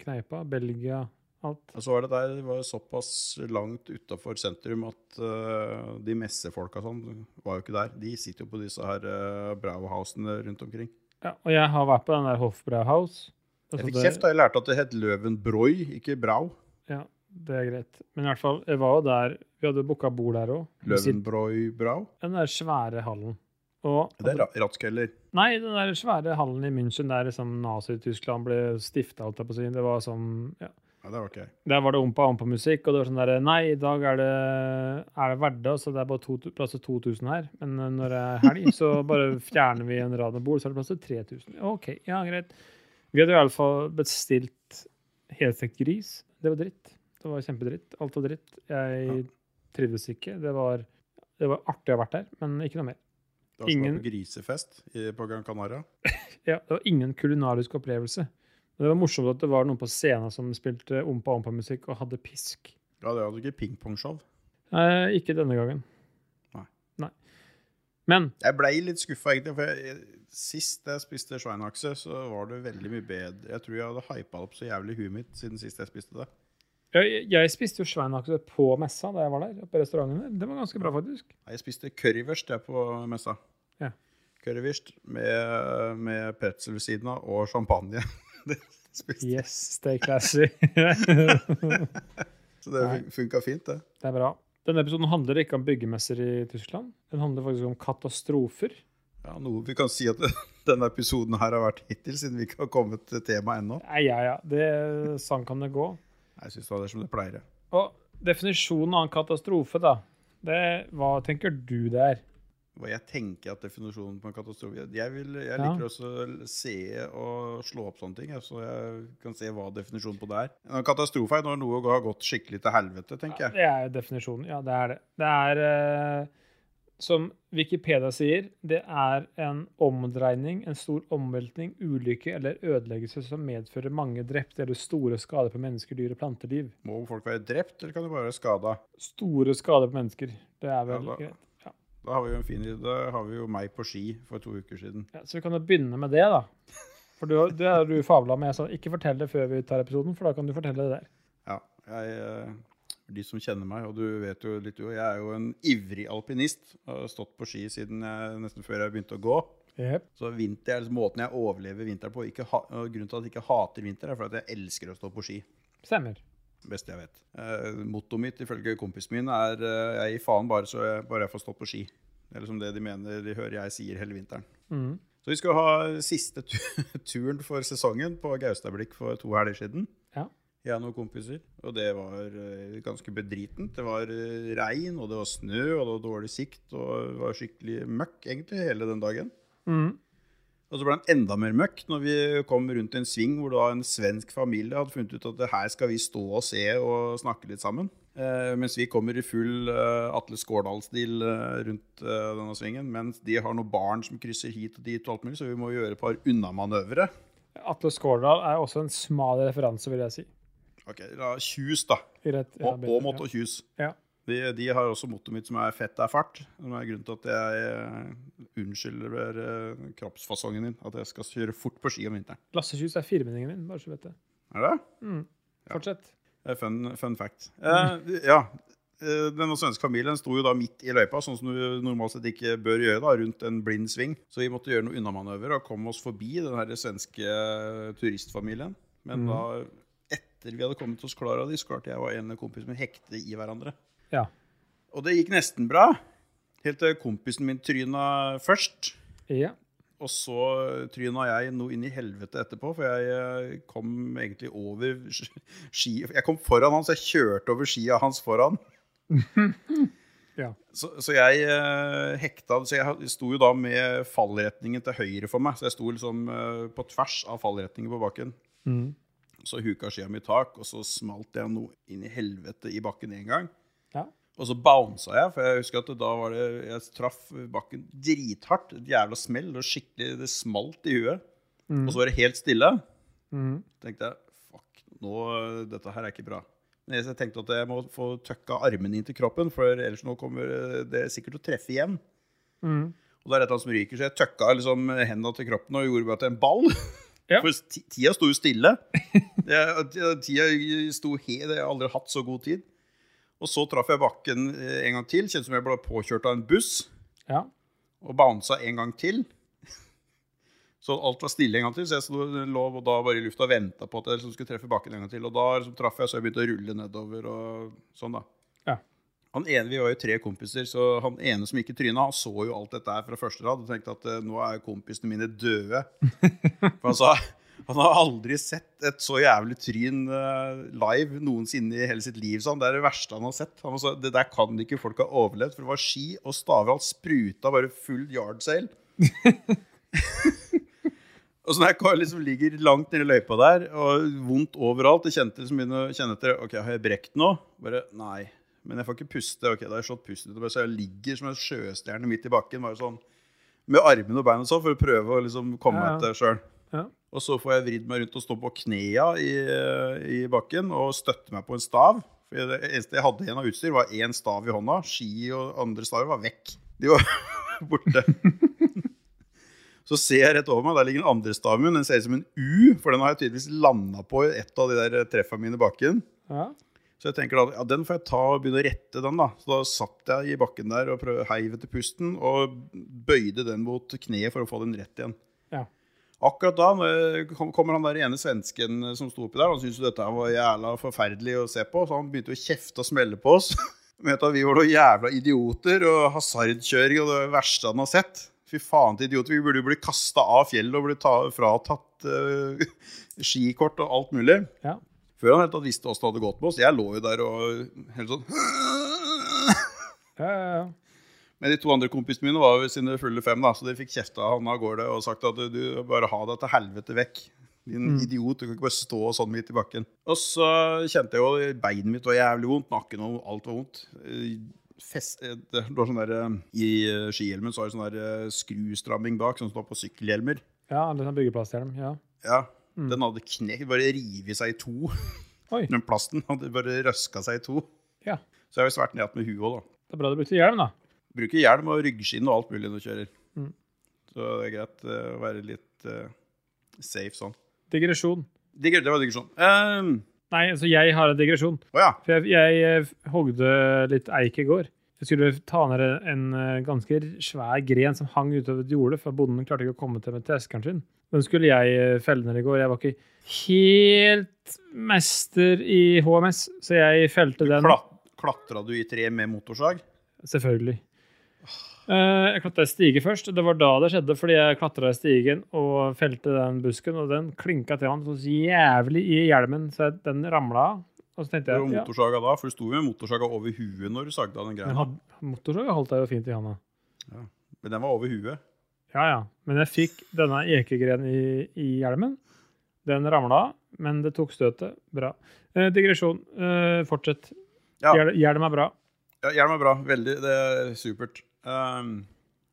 [SPEAKER 2] kneipa. Belgia, alt.
[SPEAKER 1] Og så var det der det var såpass langt utafor sentrum at eh, de messefolka sånn var jo ikke der. De sitter jo på disse her uh, Brauhausene rundt omkring.
[SPEAKER 2] Ja, og jeg har vært på den der Hofbrauhaus.
[SPEAKER 1] Jeg
[SPEAKER 2] Altså,
[SPEAKER 1] fikk
[SPEAKER 2] det-
[SPEAKER 1] kjeft da jeg lærte at det het Løvenbroi, ikke Brau.
[SPEAKER 2] Ja, det er greit. Men i hvert fall, jeg var jo der. Vi hadde booka bord der òg.
[SPEAKER 1] Løvenbroi-Brau.
[SPEAKER 2] Den der svære hallen. Og
[SPEAKER 1] Det er ra- rattkeller.
[SPEAKER 2] Nei, den der svære hallen i München der liksom Nazi-Tyskland ble stifta, holdt jeg på å si. Det var sånn ja.
[SPEAKER 1] Nei, det var ikke jeg.
[SPEAKER 2] Der var det ompa-ompa-musikk, og det var sånn der Nei, i dag er det, er det hverdag, så det er bare to, plass til 2000 her. Men eh, når det er helg, så bare fjerner vi en rad med bord, så er det plass til 3000. OK, ja, greit. Vi hadde i alle fall bestilt helstekt gris. Det var dritt. Det var kjempedritt. Alt var dritt. Jeg trivdes ikke. Det var, det var artig å ha vært der, men ikke noe mer.
[SPEAKER 1] Det var som å
[SPEAKER 2] Ingen-
[SPEAKER 1] være på grisefest i, på Gran Canaria.
[SPEAKER 2] ja, det var ingen kulinarisk opplevelse. Men det var morsomt at det var noen på scenen som spilte ompa-ompa-musikk og hadde pisk.
[SPEAKER 1] Ja, det hadde ikke pingpongshow.
[SPEAKER 2] Eh, ikke denne gangen.
[SPEAKER 1] Nei.
[SPEAKER 2] Nei. Men
[SPEAKER 1] Jeg blei litt skuffa, egentlig. For jeg, sist jeg spiste Schweinhaxe, så var det veldig mye bedre. Jeg tror jeg hadde hypa opp så jævlig i huet mitt siden sist jeg spiste det.
[SPEAKER 2] jeg, jeg spiste jo sveinakse på messa da jeg var der. på restauranten der. Det var ganske bra, faktisk.
[SPEAKER 1] Nei, Jeg spiste currywurst jeg på messa.
[SPEAKER 2] Ja.
[SPEAKER 1] Currywurst med, med pretzel ved siden av og champagne. [laughs] Det spiste.
[SPEAKER 2] Yes, stay classy. [laughs] det
[SPEAKER 1] Så det fun- funka fint, det.
[SPEAKER 2] er bra. Denne episoden handler ikke om byggemesser i Tyskland. Den handler faktisk om katastrofer.
[SPEAKER 1] Ja, Noe vi kan si at [laughs] denne episoden her har vært hittil, siden vi ikke har kommet til temaet ennå.
[SPEAKER 2] Nei, ja, ja. Det, sånn kan det gå.
[SPEAKER 1] Jeg syns det er som det pleier.
[SPEAKER 2] Og definisjonen av en katastrofe, da, det, hva tenker du det er?
[SPEAKER 1] Hva jeg tenker at definisjonen på en katastrofe Jeg, vil, jeg
[SPEAKER 2] Ja.
[SPEAKER 1] liker også å se og slå opp sånne ting, jeg, så jeg kan se hva definisjonen på det er. En katastrofe er når noe har gått skikkelig til helvete, tenker jeg.
[SPEAKER 2] Det er jo definisjonen. Ja, det er det. Det er, eh, som Wikipedia sier, det er en omdreining, en stor omveltning, ulykke eller ødeleggelse som medfører mange drepte eller store skader på mennesker, dyr og planteliv.
[SPEAKER 1] Må folk være drept, eller kan de bare være skada?
[SPEAKER 2] Store skader på mennesker. Det er vel
[SPEAKER 1] Ja, da-
[SPEAKER 2] greit. Ja.
[SPEAKER 1] Da har vi jo en fin Da har vi jo meg på ski for to uker siden.
[SPEAKER 2] Ja, så vi kan jo begynne med det, da. For du, det er du fabla med. Jeg sa ikke fortell det før vi tar episoden, for da kan du fortelle det der.
[SPEAKER 1] Ja, jeg, eh, for de som kjenner meg, og du vet jo litt, jo, jeg er jo en ivrig alpinist. Jeg har stått på ski siden jeg, nesten før jeg begynte å gå.
[SPEAKER 2] Jep.
[SPEAKER 1] Så vinter er liksom måten jeg overlever vinteren på. Ikke ha, og grunnen til at jeg ikke hater vinter, er for at jeg elsker å stå på ski.
[SPEAKER 2] Stemmer.
[SPEAKER 1] Beste jeg vet. Eh, Mottoet mitt ifølge kompisen min er eh, 'jeg gir faen bare så jeg, bare jeg får stått på ski'. Eller som det de mener de hører jeg sier hele vinteren.
[SPEAKER 2] Mm.
[SPEAKER 1] Så vi skal ha siste tu- [laughs] turen for sesongen på Gaustablikk for to helger siden.
[SPEAKER 2] Ja.
[SPEAKER 1] Jeg og noen kompiser. Og det var eh, ganske bedritent. Det var eh, regn, og det var snø, og det var dårlig sikt, og det var skikkelig møkk egentlig hele den dagen.
[SPEAKER 2] Mm.
[SPEAKER 1] Og så ble den enda mer møkk når vi kom rundt en sving hvor da en svensk familie hadde funnet ut at det her skal vi stå og se og snakke litt sammen. Eh, mens vi kommer i full eh, Atle Skårdal-stil eh, rundt eh, denne svingen. Mens de har noen barn som krysser hit og dit, og alt mulig, så vi må gjøre et par unnamanøvre.
[SPEAKER 2] Atle Skårdal er også en smal referanse, vil jeg si.
[SPEAKER 1] Ok, da Kjus, da.
[SPEAKER 2] Greit. ja,
[SPEAKER 1] Og,
[SPEAKER 2] bedre,
[SPEAKER 1] og måtte og kjus.
[SPEAKER 2] Ja.
[SPEAKER 1] De, de har også mottoet mitt som er 'fett er fart'. Som er grunnen til at jeg eh, unnskylder eh, kroppsfasongen din. At jeg skal kjøre fort på ski om vinteren.
[SPEAKER 2] Ja. Lassekyss er firmenningen min, bare så du vet det.
[SPEAKER 1] Er det?
[SPEAKER 2] Fortsett.
[SPEAKER 1] Eh, Fun, fun fact. Eh, ja, eh, denne svenske familien sto jo da midt i løypa, sånn som du normalt sett ikke bør gjøre, da, rundt en blind sving. Så vi måtte gjøre noen unnamanøver og komme oss forbi den her svenske turistfamilien. Men da, etter vi hadde kommet oss klar av de, så klarte jeg og en kompis med hekte i hverandre.
[SPEAKER 2] Ja.
[SPEAKER 1] Og det gikk nesten bra, helt til kompisen min tryna først.
[SPEAKER 2] Ja.
[SPEAKER 1] Og så tryna jeg noe inn i helvete etterpå, for jeg eh, kom egentlig over ski Jeg kom foran han, så jeg kjørte over skia hans foran.
[SPEAKER 2] Ja.
[SPEAKER 1] Så, så jeg eh, hekta Så jeg sto jo da med fallretningen til høyre for meg. Så jeg sto liksom eh, på tvers av fallretningen på bakken.
[SPEAKER 2] Mm.
[SPEAKER 1] Så huka skia mi tak, og så smalt jeg noe inn i helvete i bakken én gang.
[SPEAKER 2] Ja.
[SPEAKER 1] Og så bounsa jeg, for jeg husker at da var det Jeg traff bakken drithardt. Et jævla smell. Og skikkelig, det smalt i huet. Og så var det helt stille.
[SPEAKER 2] Mm.
[SPEAKER 1] tenkte jeg fuck, nå, dette her er ikke bra. Men jeg tenkte at jeg må få tøkka armene inn til kroppen, for ellers nå kommer det sikkert til å treffe igjen.
[SPEAKER 2] Mm.
[SPEAKER 1] Og det er et eller annet som ryker, så jeg tøkka liksom hendene til kroppen og gjorde meg til en ball.
[SPEAKER 2] Ja.
[SPEAKER 1] For ti- tida sto jo stille. Jeg, tida sto he, jeg har aldri hatt så god tid. Og så traff jeg bakken eh, en gang til. Kjente som jeg ble påkjørt av en buss.
[SPEAKER 2] ja.
[SPEAKER 1] Og bounsa en gang til. Så alt var stille en gang til, så jeg sto- lå og da bare i lufta og venta på at jeg liksom skulle treffe bakken en gang til. Og da liksom traff jeg, så jeg begynte å rulle nedover og sånn, da.
[SPEAKER 2] Ja.
[SPEAKER 1] Han ene, Vi var jo tre kompiser, så han ene som ikke tryna, han så jo alt dette her fra første rad og tenkte at eh, nå er jo kompisene mine døde. For han sa altså, han har aldri sett et så jævlig tryn eh, live noensinne i hele sitt liv. sa han. det er det verste han har sett. Han sa, det der kan ikke folk ha overlevd, for det var ski og Stavral spruta bare full yardsail. og så når jeg kom- liksom ligger langt nede i løypa der, og vondt overalt Jeg kjente liksom begynner å kjenne etter Ok, har jeg brekt nå? Bare nei. Men jeg får ikke puste. Ok, da har jeg slått pusten ut. og bare- Så jeg ligger som en sjøstjerne midt i bakken, bare sånn med armene og beina og sånn, for å prøve å liksom komme
[SPEAKER 2] Ja, ja.
[SPEAKER 1] meg etter sjøl.
[SPEAKER 2] Ja.
[SPEAKER 1] Og så får jeg vridd meg rundt og stå på knea i, i bakken og støtte meg på en stav. For det eneste jeg hadde igjen av utstyr, var én stav i hånda. Ski og andre staver var vekk. De var [laughs] borte. Så ser jeg rett over meg, der ligger den andre staven min. Den ser ut som en U, for den har jeg tydeligvis landa på i et av de der treffa mine i bakken.
[SPEAKER 2] ja.
[SPEAKER 1] Så jeg tenker da, ja, den får jeg ta og begynne å rette den, da. Så da satt jeg i bakken der og prøv, heiv etter pusten og bøyde den mot kneet for å få den rett igjen.
[SPEAKER 2] Ja.
[SPEAKER 1] Akkurat da når jeg kom- kommer han der ene svensken eh, som sto oppi der, han syntes jo dette her var jævla forferdelig å se på, så han begynte å kjefte og smelle på oss. [laughs] Mente at vi var noen jævla idioter og hasardkjøring og det verste han har sett. Fy faen til idioter, vi burde jo bli kasta av fjellet og bli ta, fratatt eh, [laughs] skikort og alt mulig.
[SPEAKER 2] Ja.
[SPEAKER 1] Før han helt tatt visste åssen det hadde gått med oss. Jeg lå jo der og helt sånn
[SPEAKER 2] Ja, ja, ja.
[SPEAKER 1] Men de to andre kompisene mine var jo sine fulle fem, da, så de fikk kjefta av han av gårde og sagt at du, du bare ha deg til helvete vekk. Din
[SPEAKER 2] Mm.
[SPEAKER 1] idiot, du kan ikke bare stå sånn midt i bakken. Og så kjente jeg jo beinet mitt var jævlig vondt, nakken og alt var vondt. Eh, Fest, eh, det var sånn der, eh, I eh, skihjelmen så har du sånn der eh, skrustramming bak, sånn som du har på sykkelhjelmer.
[SPEAKER 2] ja litt sånn byggeplasthjelm. Ja.
[SPEAKER 1] Ja, Den hadde knekt, bare revet seg i to.
[SPEAKER 2] Mm. Oi.
[SPEAKER 1] [laughs] Den plasten hadde bare røska seg i to.
[SPEAKER 2] ja.
[SPEAKER 1] Så jeg har visst vært nede med huet òg, da.
[SPEAKER 2] Det er bra du brukte hjelm, da.
[SPEAKER 1] Bruker hjelm og ryggskinn og alt mulig når du kjører.
[SPEAKER 2] Mm.
[SPEAKER 1] Så det er greit eh, å være litt eh, safe sånn.
[SPEAKER 2] Digresjon.
[SPEAKER 1] Det, det var digresjon. Ehm,
[SPEAKER 2] Nei, altså jeg har en digresjon.
[SPEAKER 1] Å ja.
[SPEAKER 2] For jeg, jeg eh, hogde litt eik i går. Vi skulle ta ned en eh, ganske svær gren som hang utover et jorde, for bonden klarte ikke å komme til med teskeren sin. Den skulle jeg eh, felle ned i går. Jeg var ikke helt mester i HMS, så jeg felte den.
[SPEAKER 1] Klat, klatra du i treet med motorsag?
[SPEAKER 2] Selvfølgelig. Eh, Jeg klatra i stige først. Det var da det skjedde, fordi jeg klatra i stigen og felte den busken, og den klinka til han så jævlig i hjelmen, så jeg- den ramla av. Og så tenkte
[SPEAKER 1] Det var
[SPEAKER 2] jeg ja,
[SPEAKER 1] motorsaga da, for du sto jo med motorsaga over huet når du sagde av den
[SPEAKER 2] men
[SPEAKER 1] greia.
[SPEAKER 2] had- motorsag holdt jeg jo fint i handa.
[SPEAKER 1] Men den var over huet.
[SPEAKER 2] Ja, ja. Men jeg fikk denne ekegrenen i, i hjelmen. Den ramla av, men det tok støtet. Bra. Eh, digresjon. Eh, fortsett.
[SPEAKER 1] Ja.
[SPEAKER 2] Hjel- Hjelm er bra.
[SPEAKER 1] Ja, hjelm er bra. Veldig. Det er supert. Ehm,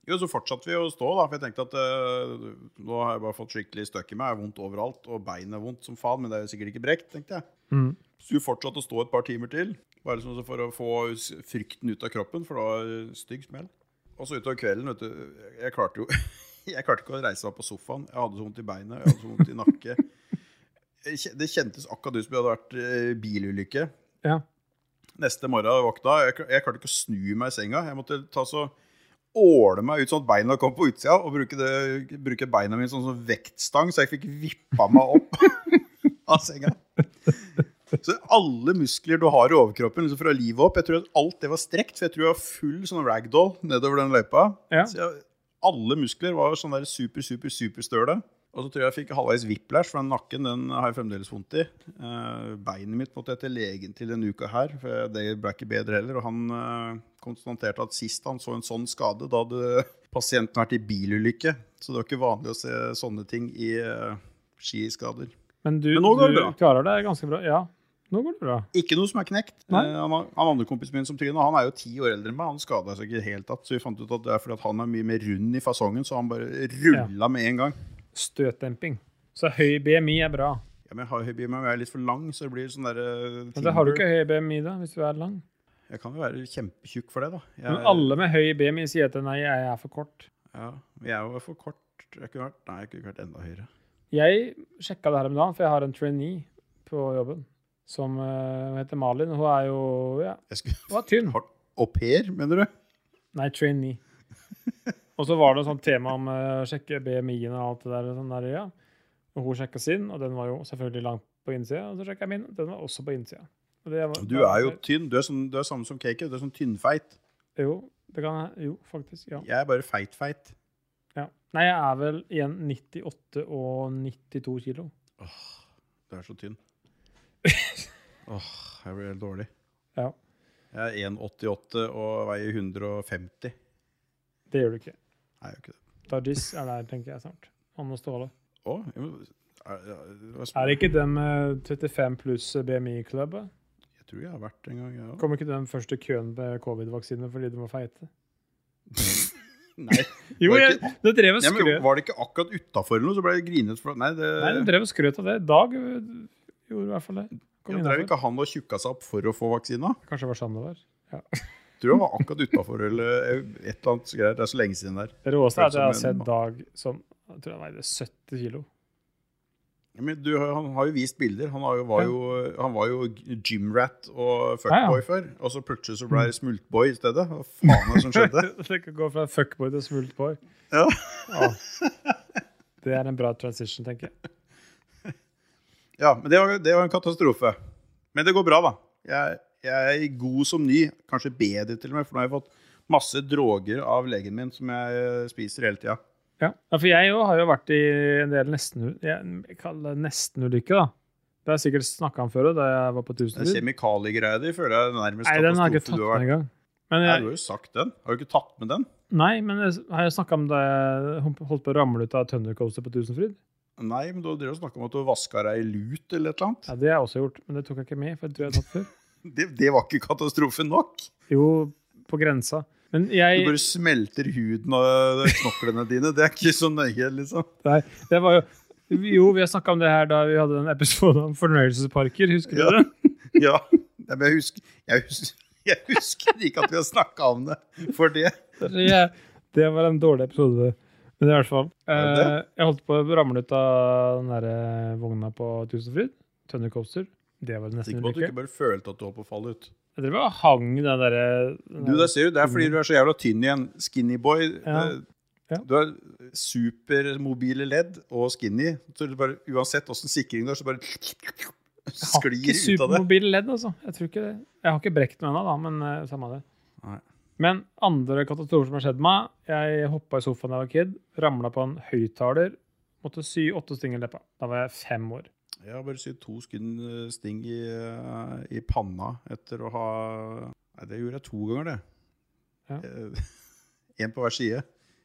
[SPEAKER 1] jo, så fortsatte vi å stå, da. For jeg tenkte at eh, nå har jeg bare fått skikkelig støkk i meg. Jeg har vondt overalt, og beinet er vondt som faen. Men det er jo sikkert ikke brekt, tenkte jeg.
[SPEAKER 2] Mm.
[SPEAKER 1] Så vi fortsatte å stå et par timer til. Bare liksom så for å få s- frykten ut av kroppen, for det var en stygg smell. Og så utover kvelden, vet du. Jeg klarte jo [laughs] Jeg klarte ikke å reise meg på sofaen. Jeg hadde så vondt i beinet, jeg hadde så vondt i nakke. Jeg kje- Det kjentes akkurat ut som det hadde vært eh, bilulykke.
[SPEAKER 2] Ja.
[SPEAKER 1] Neste morgen jeg våkna, jeg, kl- jeg klarte ikke å snu meg i senga. Jeg måtte ta så åle meg ut sånn at beina kom på utsida, og bruke, det, bruke beina mine sånn som vektstang, så jeg fikk vippa meg opp [laughs] av senga. Så alle muskler du har i overkroppen, liksom fra livet opp Jeg tror at alt det var strekt, for jeg tror jeg var full sånn ragdoll nedover den løypa.
[SPEAKER 2] Ja.
[SPEAKER 1] Så jeg, alle muskler var sånn der super, super, superstøle. Og så tror jeg jeg fikk halvveis whiplash, for den nakken den har jeg fremdeles vondt i. Eh, Beinet mitt måtte jeg til legen til denne uka her, for det ble ikke bedre heller. Og han eh, konstaterte at sist han så en sånn skade, da hadde [laughs] pasienten vært i bilulykke. Så det var ikke vanlig å se sånne ting i eh, skiskader.
[SPEAKER 2] Men du,
[SPEAKER 1] Men nå går det
[SPEAKER 2] du
[SPEAKER 1] bra.
[SPEAKER 2] klarer deg ganske bra. Ja, nå går det bra.
[SPEAKER 1] Ikke noe som er knekt. Eh,
[SPEAKER 2] Nei.
[SPEAKER 1] han, har- han andre kompisen min som tryna, han er jo ti år eldre enn meg. Han skada seg ikke i det hele tatt, så vi fant ut at det er fordi at han er mye mer rund i fasongen, så han bare rulla med en gang.
[SPEAKER 2] Støtdemping. Så høy BMI er bra.
[SPEAKER 1] Ja, men jeg har høy bie, men jeg er litt for lang, så det blir sånn derre
[SPEAKER 2] Men det har du ikke høy BMI da, hvis du er lang.
[SPEAKER 1] Jeg kan jo være kjempetjukk for det, da. Jeg,
[SPEAKER 2] Men alle med høy BMI sier at nei, jeg er for kort.
[SPEAKER 1] ja, men jeg er jo for kort. Jeg kunne vært, nei, jeg kunne vært enda høyere.
[SPEAKER 2] Jeg sjekka det her om dagen, for jeg har en trainee på jobben som eh, hun heter Malin. Hun er jo ja,
[SPEAKER 1] Jeg skulle [laughs]
[SPEAKER 2] hun er tynn.
[SPEAKER 1] vært au pair, mener du?
[SPEAKER 2] Nei,
[SPEAKER 1] [laughs]
[SPEAKER 2] trainee. Og så var det et sånt tema om eh, å sjekke BMI-en og alt det der. Og sånn der, ja. Og hun sjekka sin, og den var jo selvfølgelig langt på innsida. Og så sjekka jeg min, og den var også på innsida. Og det var-
[SPEAKER 1] Du er jo tynn. Du er, sånn, du er samme som Kake. Du er sånn tynnfeit.
[SPEAKER 2] Jo, det kan, jo faktisk. Ja.
[SPEAKER 1] Jeg er bare feit-feit.
[SPEAKER 2] Ja. Nei, jeg er vel igjen 98 og 92 kilo.
[SPEAKER 1] Du er så
[SPEAKER 2] [laughs]
[SPEAKER 1] tynn. Åh, jeg blir helt dårlig.
[SPEAKER 2] Ja,
[SPEAKER 1] Jeg er 1,88 og veier 150.
[SPEAKER 2] det gjør du ikke.
[SPEAKER 1] Nei, jeg gjør ikke det.
[SPEAKER 2] Dajis er der, tenker jeg snart. Han og Ståle.
[SPEAKER 1] Å, jeg må- er, er,
[SPEAKER 2] Er det ikke dem eh, 35 pluss BMI-klubbet?
[SPEAKER 1] Jeg tror jeg har vært en gang, jeg òg.
[SPEAKER 2] Kom ikke dem først i køen med covid-vaksine fordi de var feite? [laughs]
[SPEAKER 1] Nei.
[SPEAKER 2] Jo,
[SPEAKER 1] Var det
[SPEAKER 2] jeg, det drev og
[SPEAKER 1] Ja, men
[SPEAKER 2] skrøt.
[SPEAKER 1] var det ikke akkurat utafor eller noe, så ble jeg grinet for Nei, det,
[SPEAKER 2] Nei, de drev og skrøt av det. Dag eh, gjorde i hvert fall det. Kom
[SPEAKER 1] ja,
[SPEAKER 2] innenfor.
[SPEAKER 1] drev ikke han og tjukka seg opp for å få vaksina?
[SPEAKER 2] Kanskje det var sånn det var.
[SPEAKER 1] Tror jeg var akkurat utafor eller eh, et eller annet greier. Det er så lenge siden der.
[SPEAKER 2] Det råeste er at jeg har
[SPEAKER 1] Føles som en
[SPEAKER 2] sett Dag som jeg tror han veide 70 kilo.
[SPEAKER 1] Ja, Men du, han har jo vist bilder. Han, har jo, var,
[SPEAKER 2] Ja.
[SPEAKER 1] jo, han var jo gymrat og
[SPEAKER 2] Ja, Mm.
[SPEAKER 1] fuckboy før. Og så plutselig så ble det smultboy i stedet. Hva faen er [laughs] det som
[SPEAKER 2] [laughs]
[SPEAKER 1] skjedde?
[SPEAKER 2] Det kan gå fra fuckboy til smultboy.
[SPEAKER 1] Ja.
[SPEAKER 2] Ja. Det er en bra transition, tenker jeg.
[SPEAKER 1] Ja, men det var, det var en katastrofe. Men det går bra, da. Jeg, jeg er god som ny. Kanskje bedre, til og med. For nå har jeg fått masse droger av legen min som jeg eh, spiser hele tida.
[SPEAKER 2] Ja, ja for jeg jo har jo vært i en del nesten, jeg, jeg kaller det nesten-ulykke, da. Det har jeg sikkert snakka om før, da jeg var på
[SPEAKER 1] Den
[SPEAKER 2] Tusenfryd.
[SPEAKER 1] kjemikaliegreia di føler jeg er nærmest
[SPEAKER 2] Nei, den har jeg ikke
[SPEAKER 1] katastrofe
[SPEAKER 2] tatt
[SPEAKER 1] du har
[SPEAKER 2] med
[SPEAKER 1] vært
[SPEAKER 2] engang. Men eh,
[SPEAKER 1] Nei, du
[SPEAKER 2] jeg,
[SPEAKER 1] har jo sagt den. Har du ikke tatt med den?
[SPEAKER 2] nei, men jeg har jeg snakka om da jeg holdt på å ramle ut av Tøndercoaster på Tusenfryd?
[SPEAKER 1] Nei, men du har drevet og snakka om at du vaska deg i lut eller et eller annet.
[SPEAKER 2] Ja, det har jeg også gjort, men det tok jeg ikke med, for det tror jeg jeg har tatt
[SPEAKER 1] [laughs]
[SPEAKER 2] før.
[SPEAKER 1] Det, det var ikke katastrofe nok.
[SPEAKER 2] Jo, på grensa. Men
[SPEAKER 1] Du
[SPEAKER 2] jeg
[SPEAKER 1] bare smelter huden og knoklene dine. Det er ikke så nøye, liksom.
[SPEAKER 2] Nei, det var jo Jo, vi har snakka om det her da vi hadde en episode om fornøyelsesparker, husker du
[SPEAKER 1] Ja.
[SPEAKER 2] det?
[SPEAKER 1] Ja, Nei, men jeg husker, jeg husker, jeg husker ikke at vi har snakka om det for det.
[SPEAKER 2] Det, det var en dårlig episode. Men i hvert fall
[SPEAKER 1] Ja,
[SPEAKER 2] eh, Jeg holdt på å ramle ut av den der eh, vogna på Tusenfryd. Tøndercoaster. Det var det nesten
[SPEAKER 1] Sikker
[SPEAKER 2] en
[SPEAKER 1] på at du
[SPEAKER 2] uke.
[SPEAKER 1] ikke bare følte at du holdt på å falle ut.
[SPEAKER 2] Jeg drev og hang den derre
[SPEAKER 1] Du, der ser du, det er fordi du er så jævla tynn igjen. Skinny boy.
[SPEAKER 2] Mm. Ja. Ja.
[SPEAKER 1] Du har supermobile ledd og skinny. Så du bare, uansett åssen sikring du har, så bare
[SPEAKER 2] Jeg har ikke
[SPEAKER 1] sklir ut av det.
[SPEAKER 2] supermobile ledd, altså. Jeg tror ikke det. Jeg har ikke brekt noe ennå, da, men eh, samme det.
[SPEAKER 1] Nei.
[SPEAKER 2] Men andre katastrofer som har skjedd meg Jeg hoppa i sofaen da jeg var kid, ramla på en høyttaler, måtte sy åtte stinger i leppa. Da var jeg fem år.
[SPEAKER 1] Jeg har bare sydd to skudd eh, sting i, eh, i panna etter å ha Nei, det gjorde jeg to ganger, det. [laughs]
[SPEAKER 2] Ja.
[SPEAKER 1] Én på hver side.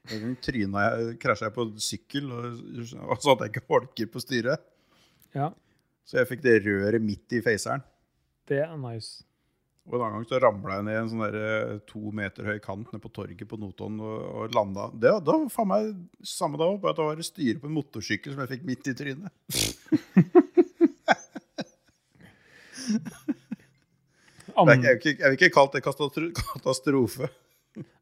[SPEAKER 1] En gang tryna jeg, krasja jeg på sykkel, og, og så hadde jeg ikke holker på styret.
[SPEAKER 2] Ja,
[SPEAKER 1] Så jeg fikk det røret midt i faceren.
[SPEAKER 2] det er nice.
[SPEAKER 1] Og en annen gang så ramla jeg ned i en sånn der, eh, to meter høy kant nede på torget på Notodden og, og landa. Det, da var faen meg samme da òg, bare at det var et styre på en motorsykkel som jeg fikk midt i trynet. Det er
[SPEAKER 2] Andre,
[SPEAKER 1] ikke- Jeg vil ikke kalt det katastro- [laughs] katastrofe.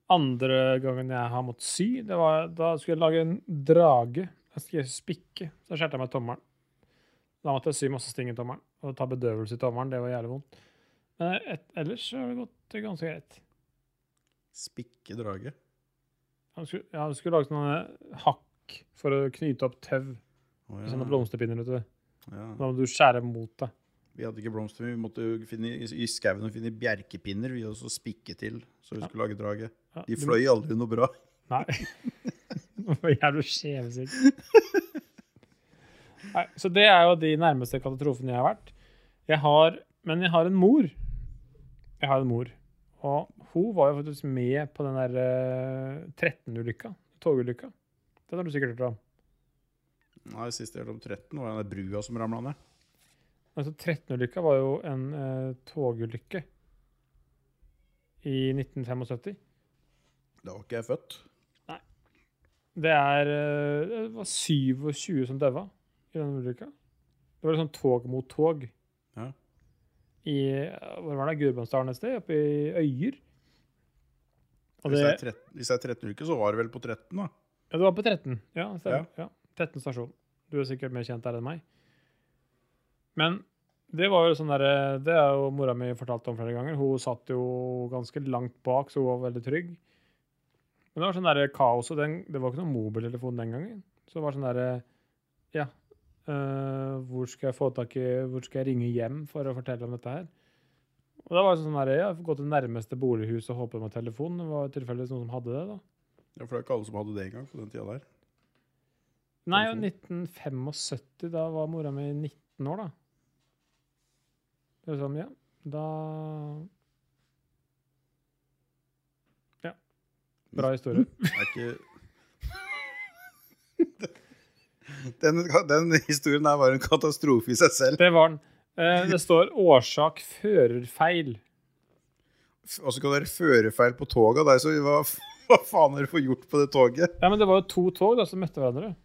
[SPEAKER 2] andre gangen jeg har måttet sy, det var, da skulle jeg lage en drage. Jeg skulle spikke, så skjærte jeg meg tommelen. Da måtte jeg sy masse sting i tommelen. Og ta bedøvelse i tommelen, det var jævlig vondt. Men et, ellers så har det gått ganske greit.
[SPEAKER 1] Spikke drage.
[SPEAKER 2] Jeg skulle, ja, jeg skulle lage sånne hakk for å knyte opp tau.
[SPEAKER 1] Å, ja.
[SPEAKER 2] Sånne blomsterpinner, vet du.
[SPEAKER 1] Ja.
[SPEAKER 2] Da må du skjære mot deg.
[SPEAKER 1] Vi hadde ikke blomster, vi måtte jo finne, i i skauen og finne bjerkepinner vi også spikke til, så vi skulle lage draget.
[SPEAKER 2] Ja,
[SPEAKER 1] De
[SPEAKER 2] du-
[SPEAKER 1] fløy aldri noe bra.
[SPEAKER 2] Nei. Hvorfor er du skjevsikt? Nei, så det er jo de nærmeste katastrofene jeg har vært. Jeg har, men jeg har en mor. Jeg har en mor. Og hun var jo faktisk med på den der eh, 13-ulykka. Togulykka. Den har du sikkert hørt om.
[SPEAKER 1] Nei, sist jeg hørte om 13, var den der brua som ramla ned.
[SPEAKER 2] Altså 13-ulykka var jo en eh, togulykke i 1975.
[SPEAKER 1] Da var ikke jeg født.
[SPEAKER 2] Det er eh, Det var 27 som daua i den ulykka. Det var liksom tog mot tog.
[SPEAKER 1] Ja.
[SPEAKER 2] I eh, hvor var det, Gudbrandsdalen et sted, oppe i Øyer. Og
[SPEAKER 1] Hvis
[SPEAKER 2] det,
[SPEAKER 1] jeg er 13, hvis jeg er 13 uker, så var det vel på 13, da.
[SPEAKER 2] ja, det var på 13. Ja, stemmer. Ja. 13 stasjon. Du er sikkert mer kjent der enn meg. Men det var jo sånn derre Det er jo mora mi fortalt om flere ganger. Hun satt jo ganske langt bak, så hun var veldig trygg. Men det var sånn derre kaos, og den, det var ikke noen mobiltelefon den gangen. Så det var sånn derre Ja, øh, hvor skal jeg få tak i Hvor skal jeg ringe hjem for å fortelle om dette her? Og da var det sånn derre Ja, gå til nærmeste bolighus og håpe om at telefon. Det var tilfeldigvis noen som hadde det, da.
[SPEAKER 1] Ja, for det er ikke alle som hadde det engang på den tida der.
[SPEAKER 2] Nei,
[SPEAKER 1] sånn.
[SPEAKER 2] jo 1975, da var mora mi 19 år, da. Det var sånn, ja, da Ja. Bra historie.
[SPEAKER 1] [laughs] Det er ikke den, den historien her var en katastrofe i seg selv.
[SPEAKER 2] Det var den. Eh, Det står 'årsak førerfeil'.
[SPEAKER 1] Og så kan dere føre feil på toga. Der, så hva, [laughs] hva faen har dere fått gjort på det toget?
[SPEAKER 2] Ja, men det var jo to tog da, som møtte hverandre.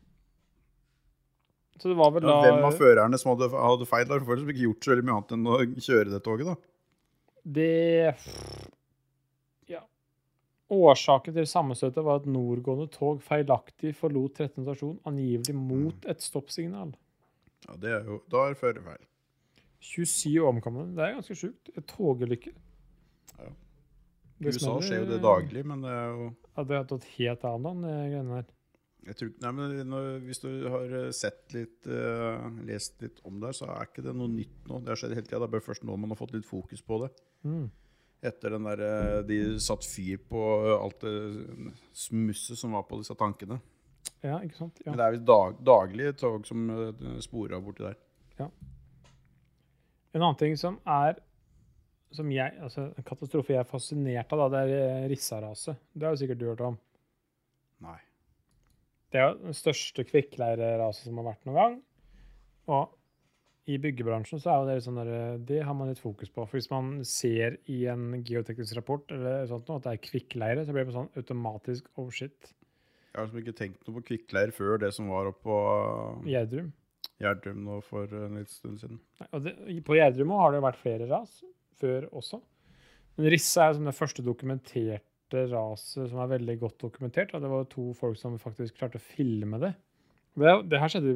[SPEAKER 2] Så det var vel
[SPEAKER 1] Ja, hvem av
[SPEAKER 2] da
[SPEAKER 1] førerne som hadde, hadde feil? Da får dere ikke gjort så veldig mye annet enn å kjøre det toget, da.
[SPEAKER 2] Det Ja. Årsaken til sammenstøtet var at nordgående tog feilaktig forlot 13. stasjon, angivelig
[SPEAKER 1] Mm.
[SPEAKER 2] mot et stoppsignal.
[SPEAKER 1] Ja, det er jo, Da er det førerfeil.
[SPEAKER 2] 27 omkomne. Det er ganske sjukt. Et togulykke.
[SPEAKER 1] Ja. I
[SPEAKER 2] Det
[SPEAKER 1] USA
[SPEAKER 2] smeller-
[SPEAKER 1] skjer jo det daglig, men det er jo
[SPEAKER 2] Ja, det har tatt helt av den, de greiene der.
[SPEAKER 1] jeg tror, ikke- nei, men når, Hvis du har eh, sett litt, eh, lest litt om det, her, så er ikke det noe nytt nå. Det har skjedd hele tida. Det er bare først nå man har fått litt fokus på det.
[SPEAKER 2] Mm.
[SPEAKER 1] Etter den der, eh, De satt fyr på eh, alt det smusset som var på disse tankene.
[SPEAKER 2] Ja, ikke sant? Ja.
[SPEAKER 1] Men det er visst dag, daglige tog som eh, sporer av borti der.
[SPEAKER 2] En annen ting som er som jeg, altså En katastrofe jeg er fascinert av, da, det er eh, Rissa-raset. Det har jo sikkert du hørt om.
[SPEAKER 1] Nei.
[SPEAKER 2] Det er jo det største kvikkleireraset som har vært noen gang. Og i byggebransjen så er jo det sånn der, det har man litt fokus på. For hvis man ser i en geoteknisk rapport eller sånt noe, at det er kvikkleire, så blir man sånn automatisk oh shit,
[SPEAKER 1] Jeg har liksom ikke tenkt noe på kvikkleir før det som var oppe på eh,
[SPEAKER 2] Gjerdrum.
[SPEAKER 1] Gjerdrum nå for eh, en liten stund siden.
[SPEAKER 2] Nei, Og det, i- på Gjerdrum har det jo vært flere ras før også. Men Rissa er jo som det første dokumenterte raset som er veldig godt dokumentert. Og det var jo to folk som faktisk klarte å filme det. Det, det her skjedde i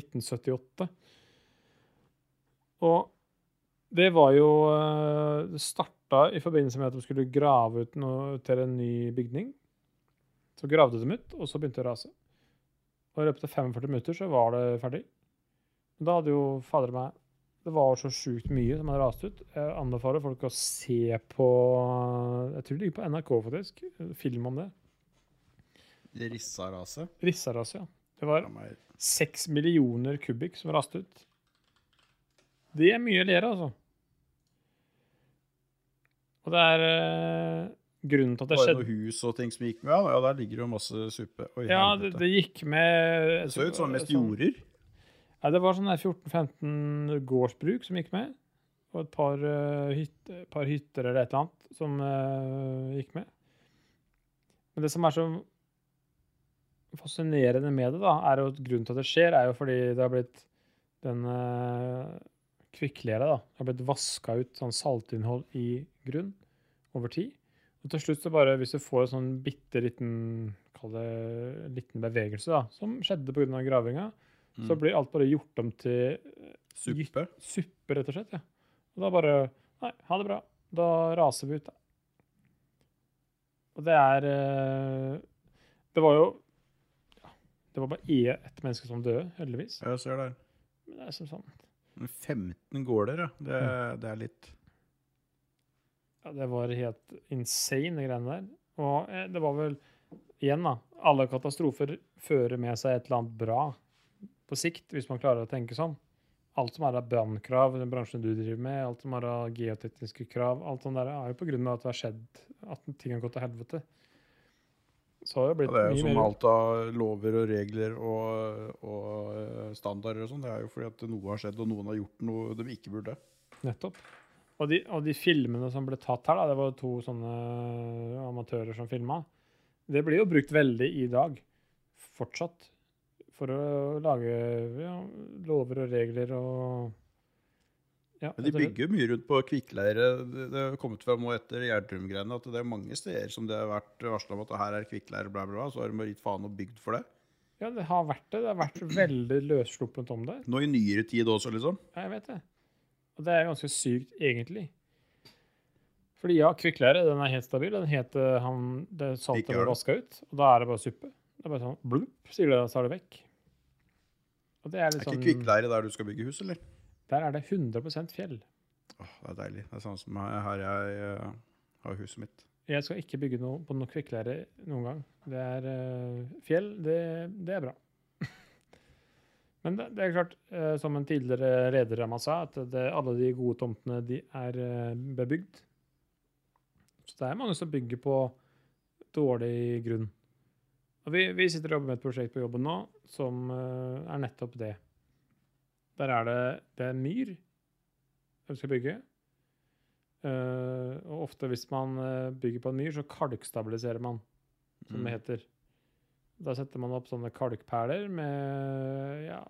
[SPEAKER 2] 1978. Og Det var jo eh, Det starta i forbindelse med at de skulle grave ut noe til en ny bygning. Så gravde de ut, og så begynte det å rase. Og i løpet av 45 minutter så var det ferdig. Og Da hadde jo fader meg Det var så sjukt mye som hadde rast ut. Jeg anbefaler folk å se på Jeg tror det ligger på NRK, faktisk. Film om det.
[SPEAKER 1] Rissa-raset.
[SPEAKER 2] Rissaraset, ja. Det var seks millioner kubikk som raste ut. Det er mye lere, altså. Og det er eh, grunnen til at det
[SPEAKER 1] Var det
[SPEAKER 2] skjedde.
[SPEAKER 1] noe hus og ting som gikk med? Ja, der ligger det jo masse suppe. Oi,
[SPEAKER 2] Ja, det,
[SPEAKER 1] helvete.
[SPEAKER 2] det gikk med
[SPEAKER 1] Det så ut som mest
[SPEAKER 2] sånn-
[SPEAKER 1] jorder.
[SPEAKER 2] Ja, det var sånn der 14-15 gårdsbruk som gikk med. Og et par, eh, hyt, par hytter eller et eller annet som eh, gikk med. Men det som er så fascinerende med det, da, er jo at grunnen til at det skjer, er jo fordi det har blitt den uh, kvikklera da, har blitt vaska ut sånn saltinnhold i grunn over tid. Og til slutt så bare, hvis du får en sånn bitte liten, kall det liten bevegelse, da, som skjedde pga. gravinga, så blir alt bare gjort om til
[SPEAKER 1] Suppe.
[SPEAKER 2] suppe, rett og slett. ja. Og da bare Nei, ha det bra. Da raser vi ut, da. Og det er eh, Det var jo ja, Det var bare e- ett menneske som døde, heldigvis.
[SPEAKER 1] Ja, jeg ser der.
[SPEAKER 2] Men det er som sånn
[SPEAKER 1] Men 15 gårder, ja. Det, det er litt
[SPEAKER 2] Ja, det var helt insane, de greiene der. Og eh, det var vel Igjen, da. Alle katastrofer fører med seg et eller annet bra på sikt, hvis man klarer å tenke sånn. Alt som er av brannkrav, den bransjen du driver med, alt som er av geotekniske krav, alt sånt der, er jo på grunn av at det har skjedd, at ting har gått til helvete. Så har det
[SPEAKER 1] ja,
[SPEAKER 2] blitt
[SPEAKER 1] Det er jo
[SPEAKER 2] mye
[SPEAKER 1] som
[SPEAKER 2] mer
[SPEAKER 1] alt av lover og regler og, og eh, standarder og sånn. Det er jo fordi at noe har skjedd, og noen har gjort noe de ikke burde.
[SPEAKER 2] Nettopp. Og de, og de filmene som ble tatt her, da, det var jo to sånne eh, amatører som filma, det blir jo brukt veldig i dag, fortsatt, for å lage ja, lover og regler og ja, altså,
[SPEAKER 1] Men de
[SPEAKER 2] rett og slett.
[SPEAKER 1] bygger jo mye rundt på kvikkleire. Det det har kommet fram nå etter Gjerdrum-greiene at det er mange steder som det har vært varsla om at her er kvikkleire, bla, bla, bla. Så har de bare gitt faen og bygd for det.
[SPEAKER 2] Ja, det har vært det. Det har vært veldig løssluppent om det.
[SPEAKER 1] Nå i nyere tid også, liksom.
[SPEAKER 2] Ja, jeg vet det. Og det er ganske sykt, egentlig. Fordi ja, kvikkleire, den er helt stabil. Den heter han, det saltet
[SPEAKER 1] Ikke
[SPEAKER 2] ble
[SPEAKER 1] gjør det.
[SPEAKER 2] vaska ut, og da er det bare suppe. Det er bare sånn blupp, sier det, så er det vekk. Og det er
[SPEAKER 1] Er
[SPEAKER 2] litt
[SPEAKER 1] ikke
[SPEAKER 2] sånn
[SPEAKER 1] kvikkleire der du skal bygge hus, eller?
[SPEAKER 2] Der er det 100 fjell.
[SPEAKER 1] Åh, det er deilig. Det er samme som her- her jeg eh, har huset mitt.
[SPEAKER 2] Jeg skal ikke bygge noe på noe kvikkleire noen gang. Det er eh, fjell, det, det er bra. [laughs] Men det, det er klart, eh, som en tidligere leder av meg sa, at det, alle de gode tomtene de er eh, bebygd. Så det er mange som bygger på dårlig grunn. Og vi, vi sitter og jobber med et prosjekt på jobben nå som eh, er nettopp det. Der er det, det er myr vi skal bygge. Eh, og ofte hvis man eh, bygger på en myr, så kalkstabiliserer man, som det
[SPEAKER 1] Mm.
[SPEAKER 2] heter. Da setter man opp sånne kalkperler med ja,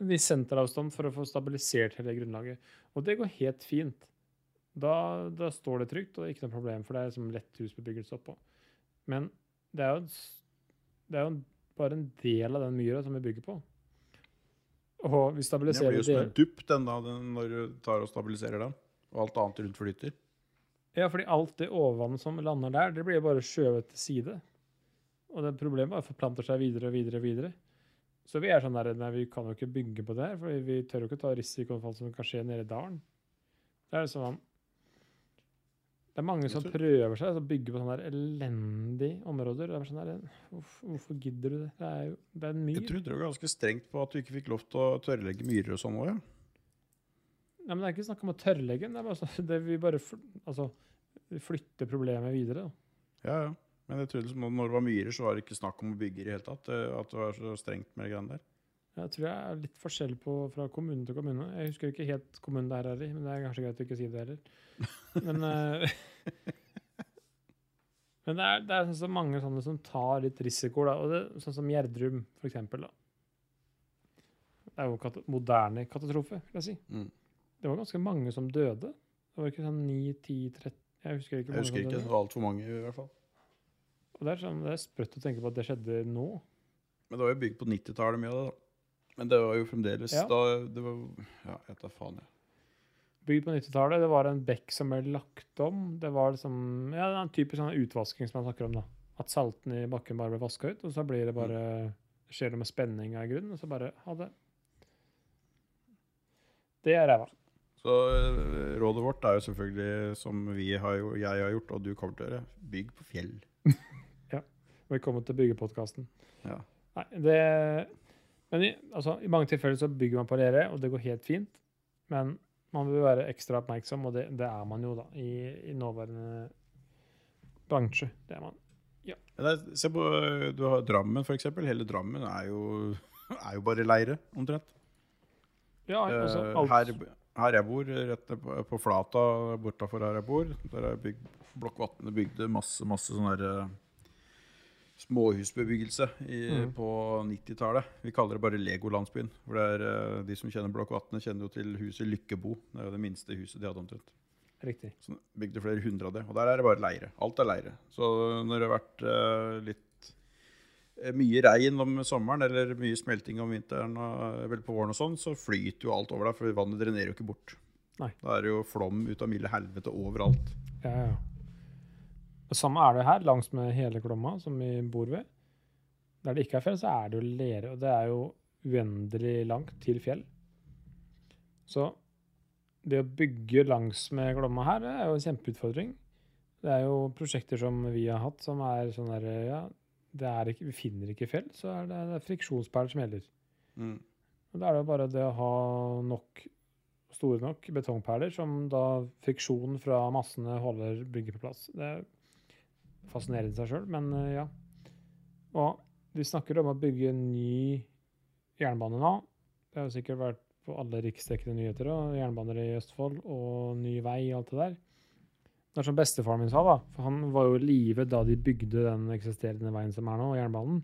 [SPEAKER 2] en viss senteravstand for å få stabilisert hele grunnlaget. Og det går helt fint. Da, da står det trygt, og det er ikke noe problem, for det er liksom lett husbebyggelse oppå. Men det er jo, en s- det er jo en- bare en del av den myra som vi bygger på. Og
[SPEAKER 1] Den
[SPEAKER 2] vi stabiliserer
[SPEAKER 1] blir jo som
[SPEAKER 2] del-
[SPEAKER 1] en dupp den da, den, når du tar og stabiliserer den. Og alt annet rundt flyter.
[SPEAKER 2] Ja, fordi alt det overvannet som lander der, det blir jo bare skjøvet til side. Og det problemet bare forplanter seg videre og videre og videre. Så vi er sånn der, nei, vi kan jo ikke bygge på det her, for vi tør jo ikke ta risikoen for alt som kan skje nede i dalen. Det er liksom Det er mange
[SPEAKER 1] Jeg
[SPEAKER 2] som
[SPEAKER 1] tror-
[SPEAKER 2] prøver seg, som bygger på sånne der elendige områder. Det er bare sånn der, hvorf- Hvorfor gidder du det? Det er jo det er en myr.
[SPEAKER 1] Jeg trodde det var ganske strengt på at du ikke fikk lov til å tørrlegge myrer og sånn òg, ja.
[SPEAKER 2] Nei, men det er ikke snakk om å tørrlegge den. Det er bare sånn, [laughs] det vi bare fl altså, vi flytter problemet videre. Da.
[SPEAKER 1] ja, ja. Men jeg trodde liksom, når det var myrer, så var det ikke snakk om å bygge i det hele tatt. eh, At det var så strengt med greiene der.
[SPEAKER 2] Jeg tror jeg er litt forskjell på, fra kommune til kommune. Jeg husker ikke helt kommunen det her er i, men det er kanskje greit å ikke si det heller. Men, eh, [laughs] men det er, det er sånn som mange sånne som tar litt risiko, da. Og det, sånn som Gjerdrum, for eksempel. Da. Det er jo en kat moderne katastrofe, vil jeg si.
[SPEAKER 1] Mm.
[SPEAKER 2] Det var ganske mange som døde. Det var ikke sånn 9, 10, 13 Jeg husker ikke.
[SPEAKER 1] Jeg
[SPEAKER 2] hvor mange som
[SPEAKER 1] husker ikke.
[SPEAKER 2] døde.
[SPEAKER 1] Det var altfor mange, i hvert fall.
[SPEAKER 2] Og det er, sånn, det er sprøtt å tenke på at det skjedde nå.
[SPEAKER 1] Men det var jo bygd på 90-tallet, mye av det, da. Men det var jo fremdeles
[SPEAKER 2] Ja.
[SPEAKER 1] da det var, Ja, jeg tar faen, jeg.
[SPEAKER 2] Bygd på 90-tallet. Det var en bekk som ble lagt om. Det var liksom, ja, det er en typisk sånn utvasking som man snakker om. da. At saltene i bakken bare ble vaska ut, og så blir det bare, skjer det med spenninga i grunnen. Og så bare ha det. Det er ræva.
[SPEAKER 1] Så eh, rådet vårt er jo selvfølgelig, som vi har, jo- jeg har gjort, og du kommer til å gjøre, bygg på fjell.
[SPEAKER 2] Velkommen til byggepodkasten.
[SPEAKER 1] Ja.
[SPEAKER 2] Nei, det Men i, altså, i mange tilfeller så bygger man på gjerdet, og det går helt fint. Men man bør være ekstra oppmerksom, og det, det er man jo, da, i, i nåværende bransje. Det er man.
[SPEAKER 1] Ja, det er- se på eh, du har Drammen, for eksempel. Hele Drammen er jo, [laughs] er jo bare leire, omtrent.
[SPEAKER 2] Ja, altså,
[SPEAKER 1] Eh,
[SPEAKER 2] alt,
[SPEAKER 1] her, her jeg bor, rett ned på, på Flata bortafor her jeg bor, der er bygd, Blokkvatnet bygde masse, masse sånn her eh, småhusbebyggelse i,
[SPEAKER 2] Mhm.
[SPEAKER 1] på 90-tallet. Vi kaller det bare Legolandsbyen. For det er, eh, de som kjenner Blokkvatnet, kjenner jo til huset Lykkebo. Det er jo det minste huset de hadde omtrent.
[SPEAKER 2] Riktig.
[SPEAKER 1] Så bygde flere hundre av det. Og der er det bare leire. Alt er leire. Så når det har vært eh, litt eh, mye regn om sommeren, eller mye smelting om vinteren, og, vel på våren og sånn, så flyter jo alt over deg, for vannet drenerer jo ikke bort.
[SPEAKER 2] Nei.
[SPEAKER 1] Da er det jo flom ut av milde helvete overalt.
[SPEAKER 2] Ja, ja. Det samme er det her, langs med hele Glomma, som vi bor ved. Der det ikke er fjell, så er det jo lere, og det er jo uendelig langt til fjell. Så det å bygge langs med Glomma her, det er jo en kjempeutfordring. Det er jo prosjekter som vi har hatt, som er sånn der, ja, det er ikke, vi finner ikke fjell, så er det, det er friksjonsperler som gjelder. Og Da er det jo bare det å ha nok, store nok betongperler som da friksjonen fra massene holder bygget på plass. Det er fascinerende i seg sjøl, men eh, ja. Og de snakker om å bygge en ny jernbane nå. Det har jo sikkert vært på alle riksdekkende nyheter og jernbaner i Østfold og ny vei og alt det der. Det er som bestefaren min sa, da. For han var jo i live da de bygde den eksisterende veien som er nå, jernbanen.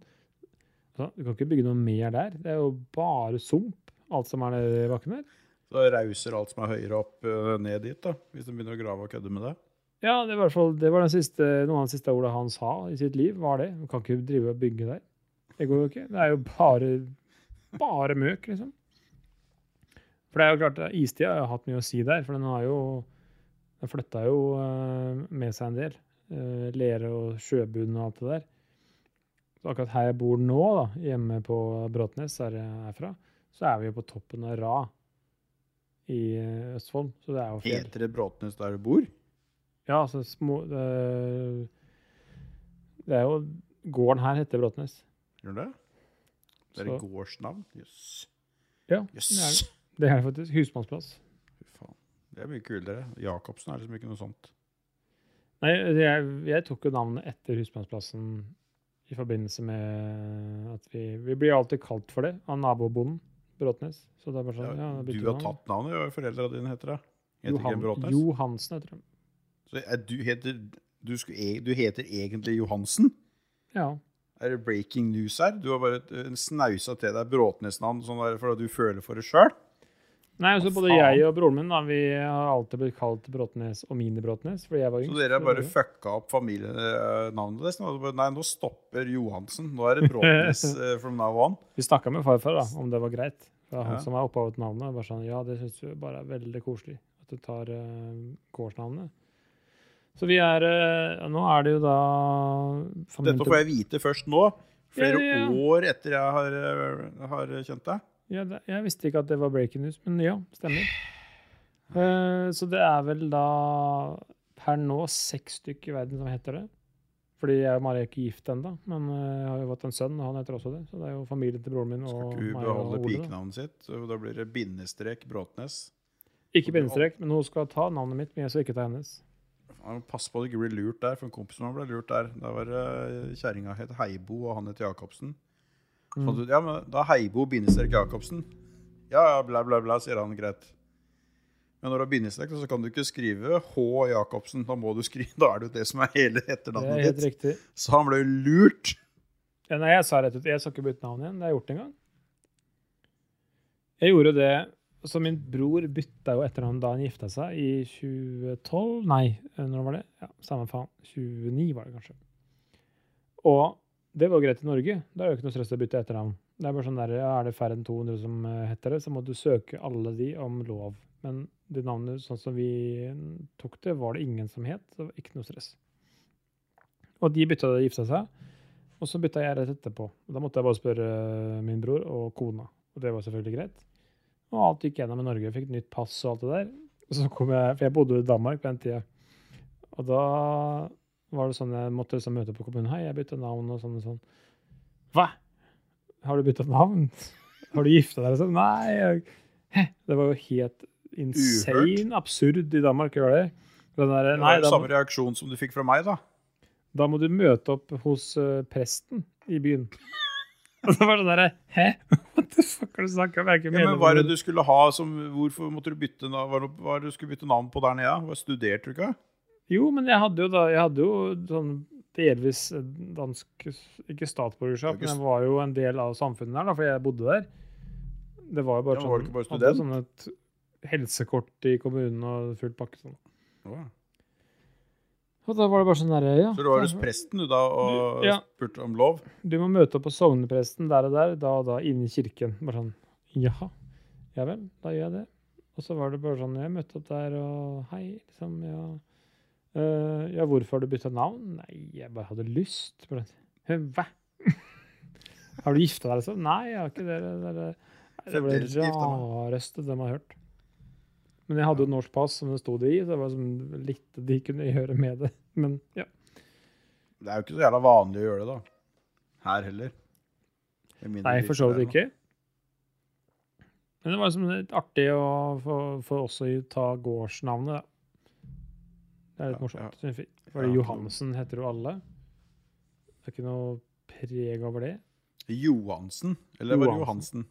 [SPEAKER 2] Så du kan ikke bygge noe mer der. Det er jo bare sump, alt som er nede i bakken der.
[SPEAKER 1] Så rauser alt som er høyere opp, eh, ned dit, da, hvis de begynner å grave og kødde med det.
[SPEAKER 2] Ja, det var, i hvert fall, det var den siste, noen av de siste ordene han sa i sitt liv, var det. Du kan ikke drive og bygge der. Det går jo ikke. Det er jo bare, bare møk, liksom. For det er jo klart, istida har jo hatt mye å si der, for den har jo Den flytta jo eh, med seg en del. eh, Lere og sjøbunn og alt det der. Så akkurat her jeg bor nå, da, hjemme på Bråtnes, der jeg er fra, så er vi jo på toppen av Ra i eh, Østfold. Så det er jo fjell.
[SPEAKER 1] Heter det Bråtnes der du bor?
[SPEAKER 2] Ja, altså små det, det er jo Gården her heter Bråtnes.
[SPEAKER 1] Gjør det? Det er
[SPEAKER 2] Så-
[SPEAKER 1] et gårdsnavn? Jøss.
[SPEAKER 2] Ja,
[SPEAKER 1] Jøss.
[SPEAKER 2] det er det. Det er faktisk husmannsplass.
[SPEAKER 1] Fy faen. Det er mye kulere. Jacobsen er liksom ikke noe sånt.
[SPEAKER 2] Nei, jeg, jeg tok jo navnet etter husmannsplassen i forbindelse med at vi Vi blir alltid kalt for det av nabobonden Bråtnes. Så det er bare
[SPEAKER 1] Ja,
[SPEAKER 2] sånn ja, da
[SPEAKER 1] du
[SPEAKER 2] bytter vi
[SPEAKER 1] har
[SPEAKER 2] navn.
[SPEAKER 1] tatt navnet, ja, foreldra dine heter det. Heter ikke
[SPEAKER 2] Johan,
[SPEAKER 1] det Bråtnes?
[SPEAKER 2] Johansen, heter de.
[SPEAKER 1] Så er du, heter, du, skulle, e- du heter egentlig Johansen?
[SPEAKER 2] Ja.
[SPEAKER 1] Er det breaking news her? Du har bare et, en snausa til deg Bråtnes-navn sånn der, fordi du føler for det sjøl?
[SPEAKER 2] Nei, altså
[SPEAKER 1] Hva
[SPEAKER 2] både
[SPEAKER 1] faen?
[SPEAKER 2] jeg og broren min da, vi har alltid blitt kalt Bråtnes og Mine Bråtnes. fordi jeg var
[SPEAKER 1] Så
[SPEAKER 2] yngst.
[SPEAKER 1] dere har bare
[SPEAKER 2] Ja.
[SPEAKER 1] fucka opp familienavnet deres? nå? Bare, Nei, nå stopper Johansen. Nå er det
[SPEAKER 2] [laughs]
[SPEAKER 1] Bråtnes eh, from now on.
[SPEAKER 2] Vi snakka med farfar da, om det var greit. Det var han
[SPEAKER 1] Ja.
[SPEAKER 2] som er opphavet til navnet. og Bare sånn, ja, det syns vi bare er veldig koselig at du tar eh, gårdsnavnet. Så vi er eh, Nå er det jo da familien
[SPEAKER 1] Dette får jeg vite først nå. Flere
[SPEAKER 2] Ja, ja, ja.
[SPEAKER 1] år etter jeg har, eh, har kjent deg.
[SPEAKER 2] Ja, det, jeg visste ikke at det var breaking news, men ja, stemmer. Eh, så det er vel da per nå seks stykker i verden som heter det. Fordi jeg og Mari er ikke gift ennå, men eh, jeg har jo fått en sønn, og han heter også det. Så det er jo familien til broren min og
[SPEAKER 1] Skal
[SPEAKER 2] meg
[SPEAKER 1] ikke hun
[SPEAKER 2] og
[SPEAKER 1] beholde
[SPEAKER 2] Ole. da.
[SPEAKER 1] pikenavnet sitt? Så Da blir det bindestrek Bråtnes.
[SPEAKER 2] Ikke bindestrek, men hun skal ta navnet mitt, men jeg skal ikke ta hennes.
[SPEAKER 1] Ja, men Pass på at du ikke blir lurt der, for en kompis av meg ble lurt der. Da var det kjerringa het Heibo, og han het Jacobsen. Så
[SPEAKER 2] Mm.
[SPEAKER 1] fant du ut, ja, men da Heibo bindestrek Jacobsen. Ja, ja, bla, bla, bla, sier han greit. Men når du har bindestrek, så kan du ikke skrive H Jacobsen. Da må du skrive, da er det jo det som er hele
[SPEAKER 2] Det er
[SPEAKER 1] etternavnet
[SPEAKER 2] helt
[SPEAKER 1] ditt.
[SPEAKER 2] riktig.
[SPEAKER 1] Så han ble jo lurt.
[SPEAKER 2] Ja, nei, jeg sa rett ut jeg skal ikke bytte navn igjen. Det har jeg gjort en gang. Jeg gjorde det Så min bror bytta jo etternavn da han gifta seg, i 2012 Nei, når var det? Ja, Samme faen. 29 var det kanskje. Og det var jo greit i Norge. Da er det jo ikke noe stress å bytte etternavn. Det Er bare sånn der, ja, er det færre enn 200 som eh, heter det, så må du søke alle de om lov. Men det navnet sånn som vi tok det, var det ingen som het. Så det var ikke noe stress. Og de bytta det, gifta seg. Og så bytta jeg rett etterpå. Og da måtte jeg bare spørre eh, min bror og kona. Og det var selvfølgelig greit. Og alt gikk gjennom i Norge. Jeg fikk nytt pass og alt det der. Og så kom jeg, For jeg bodde jo i Danmark på den tida. Og da var det sånn jeg måtte liksom møte på kommunen. Hei, jeg bytta navn og sånn og sånn. Hva? Har du bytta navn? [laughs] Har du gifta deg? Liksom? Nei. Jeg... Hæ? Det var jo helt insane absurd i Danmark å gjøre det. Den der,
[SPEAKER 1] Det
[SPEAKER 2] nei,
[SPEAKER 1] var jo
[SPEAKER 2] da,
[SPEAKER 1] samme reaksjon som du fikk fra meg, da.
[SPEAKER 2] da må du møte opp hos eh, presten i byen. [laughs] Og det var sånn derre Hæ? What the fuck har du snakka om? Jeg er ikke
[SPEAKER 1] Ja, men
[SPEAKER 2] medlem
[SPEAKER 1] hva
[SPEAKER 2] av
[SPEAKER 1] er det
[SPEAKER 2] det.
[SPEAKER 1] du skulle ha som Hvorfor måtte du bytte navn, hva er det- hva er det du skulle bytte navn på der nede? Hva studerte du ikke?
[SPEAKER 2] Jo, men jeg hadde jo da Jeg hadde jo sånn delvis dansk Ikke statsborgerskap,
[SPEAKER 1] Det er ikke
[SPEAKER 2] men jeg var jo en del av samfunnet her, da, fordi jeg bodde der. Det var jo bare
[SPEAKER 1] Ja,
[SPEAKER 2] sånn
[SPEAKER 1] men var du ikke bare
[SPEAKER 2] hadde sånn et helsekort i kommunen og full pakke sånn. Og da var det bare sånn derre Ja.
[SPEAKER 1] Så du var hos
[SPEAKER 2] det-
[SPEAKER 1] presten du da og
[SPEAKER 2] Du- ja.
[SPEAKER 1] spurte om lov?
[SPEAKER 2] Du må møte opp på sognepresten der og der, da og da, inne i kirken. Bare sånn Jaha. Ja vel, da gjør jeg det. Og så var det bare sånn Jeg møtte opp der, og hei, liksom. Ja, Eh, ja hvorfor har du bytta navn? Nei, jeg bare hadde lyst. Bare, sånn, «Hæ, Hva? [laughs] har du gifta deg, liksom? Nei, jeg har ikke det. Det, det, det, det var
[SPEAKER 1] Fremdeles ikke
[SPEAKER 2] det
[SPEAKER 1] gifta
[SPEAKER 2] rareste de har hørt. Men jeg hadde jo norsk pass som det sto det i, så det var liksom lite de kunne gjøre med det. Men ja.
[SPEAKER 1] Det er jo ikke så jævla vanlig å gjøre det, da. Her heller. Med mindre
[SPEAKER 2] Nei,
[SPEAKER 1] de
[SPEAKER 2] for
[SPEAKER 1] ikke er
[SPEAKER 2] så vidt
[SPEAKER 1] noe.
[SPEAKER 2] ikke. Men det var liksom litt artig å få, få også ta gårdsnavnet, da. Det er litt
[SPEAKER 1] Ja,
[SPEAKER 2] morsomt. synes jeg. Fordi
[SPEAKER 1] Ja.
[SPEAKER 2] Johansen heter jo alle. Det er ikke noe preg over det.
[SPEAKER 1] Johansen? Eller var det
[SPEAKER 2] Johansen.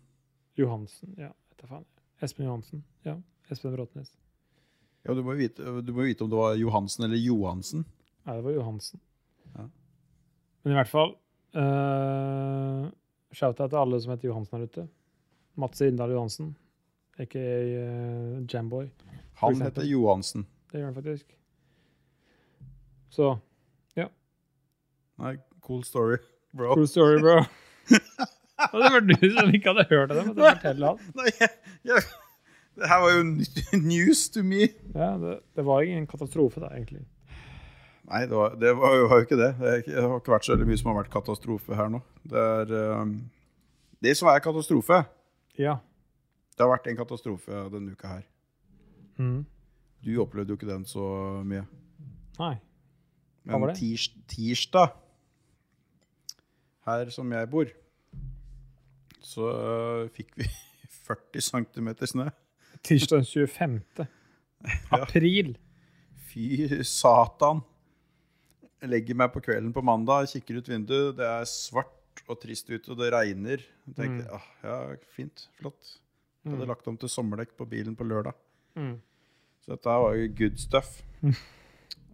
[SPEAKER 1] Johansen?
[SPEAKER 2] Johansen, ja. Vet jeg faen. Espen Johansen. Ja. Espen Bråtnes.
[SPEAKER 1] Ja, du må jo vite, du må jo vite om det var Johansen eller Johansen.
[SPEAKER 2] Nei, det var Johansen.
[SPEAKER 1] Ja.
[SPEAKER 2] Men i hvert fall uh, Shout-out til alle som heter Johansen her ute. Mats Rindal Johansen, aka eh, Jamboy. For
[SPEAKER 1] Han
[SPEAKER 2] eksempel.
[SPEAKER 1] heter Johansen.
[SPEAKER 2] Det gjør han faktisk. Så
[SPEAKER 1] Nei, cool story, bro.
[SPEAKER 2] Cool story, [laughs] bro. Og det var du som ikke hadde hørt det. Måtte fortelle han.
[SPEAKER 1] Nei, jeg, jeg, det her var jo ny- news to me.
[SPEAKER 2] Ja, det, det var ingen katastrofe, da, egentlig.
[SPEAKER 1] Nei, det var, det var, jo- var jo ikke det. Det er ikke- det har ikke vært så veldig mye som har vært katastrofe her nå. Det er ehm, Det som er katastrofe
[SPEAKER 2] Ja.
[SPEAKER 1] Det har vært en katastrofe denne uka her.
[SPEAKER 2] Mm.
[SPEAKER 1] Du opplevde jo ikke den så mye.
[SPEAKER 2] Nei. Hva var
[SPEAKER 1] Men
[SPEAKER 2] det?
[SPEAKER 1] tirs, tirsdag, her som jeg bor, så øh, fikk vi [laughs] 40 cm snø.
[SPEAKER 2] Tirsdag den
[SPEAKER 1] [laughs]
[SPEAKER 2] 25. april.
[SPEAKER 1] Fy satan. Jeg legger meg på kvelden på mandag, kikker ut vinduet, det er svart og trist ute, og det regner. Jeg tenkte,
[SPEAKER 2] Mm.
[SPEAKER 1] ah, ja, fint, flott. Jeg hadde lagt om til sommerdekk på bilen på lørdag.
[SPEAKER 2] Mm.
[SPEAKER 1] Så dette her var jo good stuff.